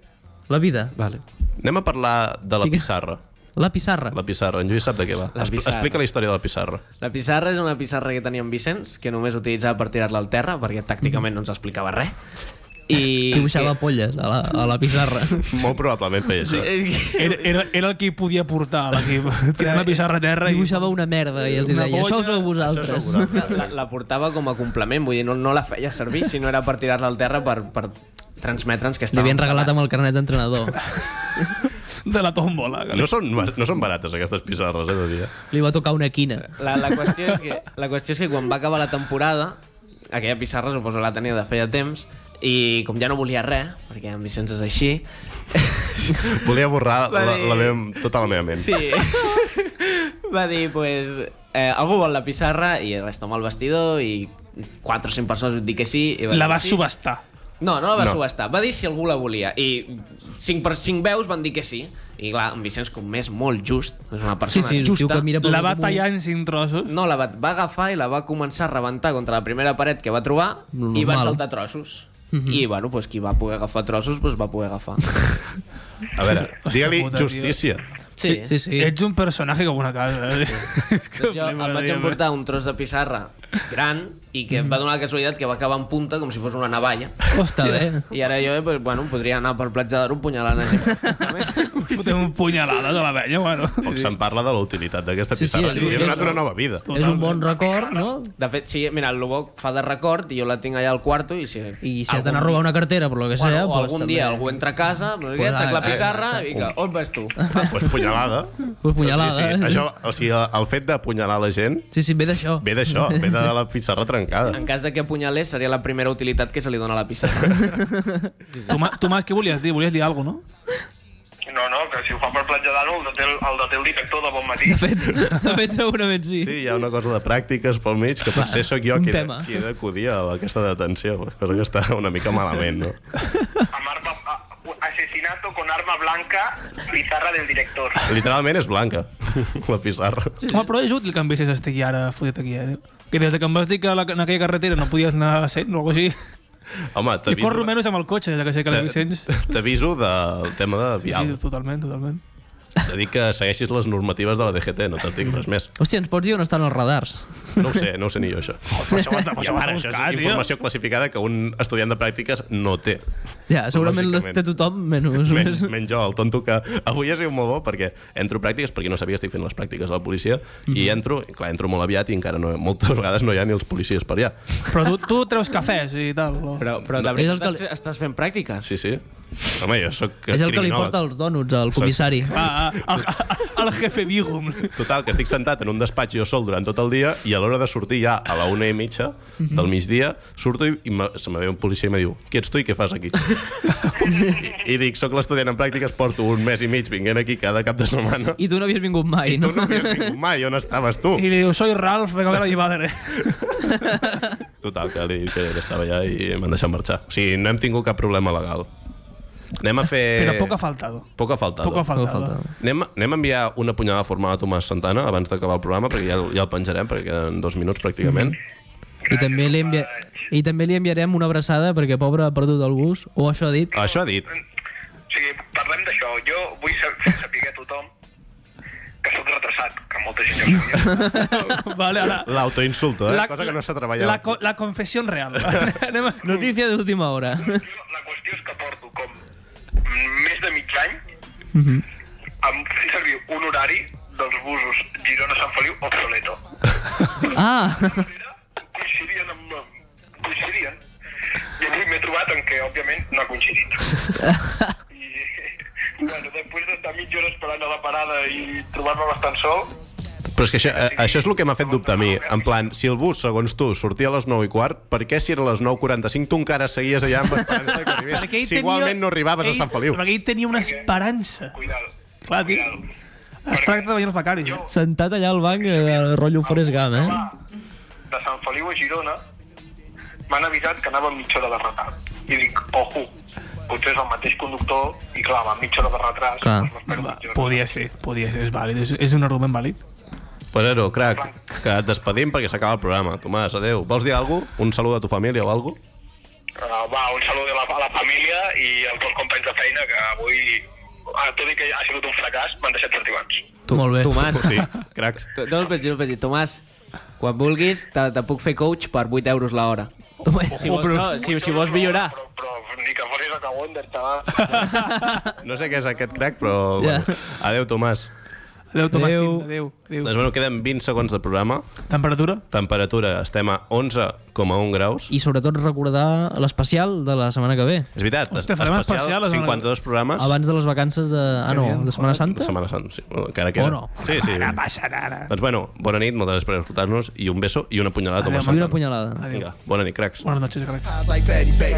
Speaker 3: La vida.
Speaker 6: Vale.
Speaker 1: Anem a parlar de la
Speaker 3: Digue-
Speaker 1: pissarra.
Speaker 3: La pissarra.
Speaker 1: La pissarra, en Lluís sap de què va.
Speaker 6: La
Speaker 1: Expl-
Speaker 6: pissarra.
Speaker 1: Explica la història de la pissarra.
Speaker 6: La pissarra és una pissarra que tenia en Vicenç, que només utilitzava per tirar-la al terra, perquè tàcticament no ens explicava res. I...
Speaker 3: Dibuixava
Speaker 6: que-
Speaker 3: polles a la, a la pissarra.
Speaker 1: Molt probablement feia això.
Speaker 6: És que...
Speaker 2: Era, era, era el que hi podia portar, l'equip. Tirant la pissarra a terra i...
Speaker 3: Dibuixava una merda i els hi
Speaker 2: Una
Speaker 3: deia, això
Speaker 2: bolla,
Speaker 3: ho sou vosaltres.
Speaker 1: Això és
Speaker 6: la, la, la portava com a complement, vull dir, no, no la feia servir, sinó era per tirar-la al terra per, per transmetre'ns que
Speaker 3: Li
Speaker 6: estava...
Speaker 3: havien regalat amb el carnet d'entrenador.
Speaker 2: De la tombola.
Speaker 6: eh.
Speaker 1: No són, no són barates aquestes pissarres, eh, de dia.
Speaker 3: Li va tocar una quina.
Speaker 6: La, la, qüestió és que, la qüestió és que quan va acabar la temporada, aquella pissarra suposo la tenia de feia temps, i com ja no volia res, perquè en Vicenç és així,
Speaker 1: Volia borrar
Speaker 6: Va
Speaker 1: la,
Speaker 6: dir-
Speaker 1: la meva, tota la meva ment.
Speaker 6: sí, va dir, pues, eh, algú vol la pissarra, i res, toma el vestidor, i 4 o 5 persones van dir que sí. I
Speaker 2: La
Speaker 6: dir
Speaker 2: va
Speaker 6: sí.
Speaker 2: subestar.
Speaker 6: No, no la va
Speaker 1: No.
Speaker 6: no. subestar. Va dir si algú la volia. I 5 per 5 veus van dir que sí. I clar, en Vicenç, com és molt just, és una
Speaker 3: Sí,
Speaker 6: persona
Speaker 3: sí, el tio
Speaker 6: justa,
Speaker 3: que mira pel
Speaker 2: La va
Speaker 3: damunt.
Speaker 2: tallar en cinc trossos.
Speaker 6: no, la va, va agafar i la va començar a rebentar contra la primera paret que va trobar i van
Speaker 3: Normal. Mhm.
Speaker 6: saltar trossos. I, bueno, pues, qui va poder agafar trossos, pues, va poder agafar.
Speaker 1: A veure, digue-li
Speaker 2: puta, tio.
Speaker 1: justícia.
Speaker 6: Sí,
Speaker 3: Sí, sí.
Speaker 2: Ets un personatge com una casa. Eh?
Speaker 6: Doncs jo em vaig emportar un tros de pissarra gran i que
Speaker 3: Mhm.
Speaker 6: em va donar la casualitat que va acabar en punta com si fos una navalla.
Speaker 3: Està bé.
Speaker 6: I ara jo, eh, pues, bueno, podria anar per platja d'Aro punyalant a gent.
Speaker 2: Fotem un punyalada de la vella, bueno.
Speaker 1: Com se'n parla de la utilitat d'aquesta
Speaker 3: Sí, sí,
Speaker 1: pissarra.
Speaker 3: és-
Speaker 1: Li ha donat
Speaker 3: és-
Speaker 1: una nova vida.
Speaker 3: És un bon record, no?
Speaker 6: De fet, sí, mira, el Lobo fa de record i jo la tinc allà al quarto i si...
Speaker 3: I si has d'anar a robar una cartera, per lo que
Speaker 6: Bueno,
Speaker 3: sea...
Speaker 6: o
Speaker 3: pues,
Speaker 6: algun
Speaker 3: també.
Speaker 6: dia algú entra a casa, no sé
Speaker 3: Pues,
Speaker 6: què, tac la
Speaker 3: ah,
Speaker 6: pissarra i que, on vas tu?
Speaker 1: Pues Ah, doncs punyalada.
Speaker 3: Pues punyalada. eh?
Speaker 1: Sí, sí. Això, o sigui, el fet d'apunyalar la gent
Speaker 3: Sí, sí, ve d'això.
Speaker 1: ve d'això, ve de la pissarra trencada.
Speaker 6: En cas de que apunyalés, seria la primera utilitat que se li dona a la pissarra.
Speaker 2: Tomàs, Tomàs, què volies dir? Volies dir alguna cosa, no?
Speaker 4: No, no, que si ho fa per platja d'Aro, el, deté el, el deté el director de bon matí.
Speaker 3: De fet, de fet segurament sí.
Speaker 1: Sí, hi ha una cosa de pràctiques pel mig que potser sóc jo
Speaker 3: un
Speaker 1: qui,
Speaker 3: tema.
Speaker 1: qui he d'acudir a aquesta detenció, cosa que està una mica malament, no?
Speaker 4: Amb arma... a- Asesinato con arma blanca, pizarra del director.
Speaker 1: Literalment és blanca, la pissarra.
Speaker 2: Home, però és útil que en Vicenç estigui ara fotut aquí, eh? Que des de que em vas dir que la, en aquella carretera no podies anar a 100 o alguna així,
Speaker 1: Home,
Speaker 2: jo
Speaker 1: t'aviso-
Speaker 2: corro menys amb el cotxe des de que sé que
Speaker 6: Eh,
Speaker 2: la Vicenç...
Speaker 1: t'aviso del tema de
Speaker 2: Sí,
Speaker 1: vial.
Speaker 2: totalment, totalment.
Speaker 1: T'he dit que segueixis les normatives de la DGT, no te'n dic res més.
Speaker 3: Hòstia, ens pots dir on estan els radars?
Speaker 1: No ho sé, no ho sé ni jo, això.
Speaker 2: Però això ho has
Speaker 1: I
Speaker 2: de-
Speaker 1: a
Speaker 2: això ho
Speaker 1: part, això
Speaker 2: has de
Speaker 1: és
Speaker 2: buscar, tio.
Speaker 1: informació classificada que un estudiant de pràctiques no té.
Speaker 3: Ja, segurament les
Speaker 1: Lògicament.
Speaker 3: té tothom, menys...
Speaker 1: Menys, menys jo, el tonto que... Avui ha sigut molt bo perquè entro a pràctiques, perquè no sabia que estic fent les pràctiques a la policia,
Speaker 3: Mhm.
Speaker 1: i entro, i clar, entro molt aviat i encara no, moltes vegades no hi ha ni els policies per allà.
Speaker 2: Però tu, tu treus cafès i tal. o-
Speaker 6: Però, però de
Speaker 3: No, és el
Speaker 6: veritat
Speaker 3: que li-
Speaker 6: estàs- estàs fent pràctiques?
Speaker 1: Sí, sí. Home, jo soc
Speaker 3: És el que li
Speaker 1: criminòleg.
Speaker 3: porta els dònuts al comissari.
Speaker 2: Ah, ah, el, el jefe Bigum.
Speaker 1: Total, que estic sentat en un despatx jo sol durant tot el dia i a l'hora de sortir ja a la una i mitja
Speaker 3: Mhm.
Speaker 1: del migdia, surto i, i me- se me ve un policia i me diu qui ets tu i què fas aquí? I, i dic, sóc l'estudiant en pràctiques, porto un mes i mig vinguent aquí cada cap de setmana i
Speaker 3: I tu no havies vingut mai,
Speaker 1: tu
Speaker 3: no?
Speaker 1: no havies vingut mai, on estaves tu?
Speaker 2: I li diu, soy Ralph, venga a ver a mi madre.
Speaker 1: Total, que, li, que estava allà i m'han deixat marxar. O sigui, no hem tingut cap problema legal. Anem a fer...
Speaker 2: Però poc ha faltado.
Speaker 1: Poc Eh, ha faltat.
Speaker 2: Poc ha
Speaker 3: No
Speaker 2: faltado.
Speaker 3: falta.
Speaker 1: Anem, anem a enviar una punyada formal a Tomàs Santana abans d'acabar el programa, perquè ja, el- ja el penjarem, perquè queden dos minuts pràcticament.
Speaker 3: Mhm. I també, li envia... I també li enviarem una abraçada perquè, pobre, ha perdut el gust. O això ha dit.
Speaker 1: Això ha dit.
Speaker 4: O sigui, parlem d'això. Jo vull sa- fer saber a tothom que sóc retrasat, que molta gent ja ho sabia.
Speaker 2: vale, ara...
Speaker 1: L'autoinsulto, eh? La, cosa que no s'ha treballat.
Speaker 2: La, co la confessió real. Anem a...
Speaker 3: Notícia d'última hora.
Speaker 4: La qüestió és que porto com més de mig any amb fer servir un horari dels busos Girona-Sant Feliu obsoleto.
Speaker 3: Ah!
Speaker 4: Coincidien amb... coincidien. I avui m'he trobat en què, òbviament, no ha coincidit. I, bueno, després d'estar mitja hora esperant a la parada i trobar-me bastant sol,
Speaker 1: Però és que això, eh, això és el que m'ha fet dubtar a mi. En plan, si el bus, segons tu, sortia a les 9 i quart, per què si era a les 9.45 tu encara seguies allà amb esperança que
Speaker 2: Perquè ell
Speaker 1: arribés? Si
Speaker 2: tenia-
Speaker 1: igualment no arribaves a
Speaker 2: ell-
Speaker 1: Sant Feliu.
Speaker 2: Perquè ell tenia una esperança.
Speaker 4: cuidado.
Speaker 2: Clar, tio.
Speaker 4: cuidado.
Speaker 2: Es tracta de venir els becaris. eh?
Speaker 3: Sentat allà al banc, eh, rotllo Forrest Gump, eh?
Speaker 4: de Sant Feliu a Girona m'han avisat que anava amb mitja hora de retard. I dic, ojo, potser és el mateix conductor i clar, va amb mitja hora de retard.
Speaker 3: Clar.
Speaker 4: Doncs m'espero mitja hora.
Speaker 2: Podia ser, podia ser, és vàlid. És, és un argument vàlid.
Speaker 1: Pues zero, crac, que et despedim perquè s'acaba el programa. Tomàs, adeu. Vols dir alguna cosa? Un salut a tu família o alguna cosa?
Speaker 4: Uh, va, un salut a la, a la família i als meus companys de feina, que avui, ah, tot i que ha sigut un fracàs, m'han deixat sentiments.
Speaker 3: Tu, Molt bé.
Speaker 6: Tomàs,
Speaker 1: Sí, cracs.
Speaker 6: tu- no el veig, no el veig. Tomàs, quan vulguis, te, te puc fer coach per 8 euros l'hora.
Speaker 3: Toma,
Speaker 6: Si, vols, no, si, si vols millorar.
Speaker 4: Però, però, però ni que fossis a Cawonder, xaval.
Speaker 1: No sé què és aquest crac, però...
Speaker 3: Ja.
Speaker 1: Yeah. Bueno. Adeu, Tomàs.
Speaker 2: Adéu, Tomàssim.
Speaker 3: Adéu.
Speaker 2: Adéu.
Speaker 1: Doncs
Speaker 2: Adéu.
Speaker 1: bueno, queden 20 segons de programa.
Speaker 2: Temperatura?
Speaker 1: Temperatura, estem a 11,1 graus.
Speaker 3: I sobretot recordar l'especial de la setmana que ve.
Speaker 1: És veritat,
Speaker 2: Hòstia, farem
Speaker 1: especial,
Speaker 2: especial la setmana-
Speaker 1: 52 programes.
Speaker 3: Abans de les vacances de... Ah, no,
Speaker 2: Genial.
Speaker 3: de Setmana Santa?
Speaker 1: La Setmana Santa, sí. Bueno, Encara queda.
Speaker 3: O no.
Speaker 1: Sí, sí. No passa nada. Doncs bueno, bona nit, moltes gràcies per escoltar-nos i un beso i una punyalada a Tomàs
Speaker 2: Adéu,
Speaker 3: I
Speaker 1: Santana.
Speaker 3: una punyalada.
Speaker 1: Vinga, bona nit, cracs.
Speaker 2: Buenas noches, gracias.
Speaker 7: Eyes like Patty Page.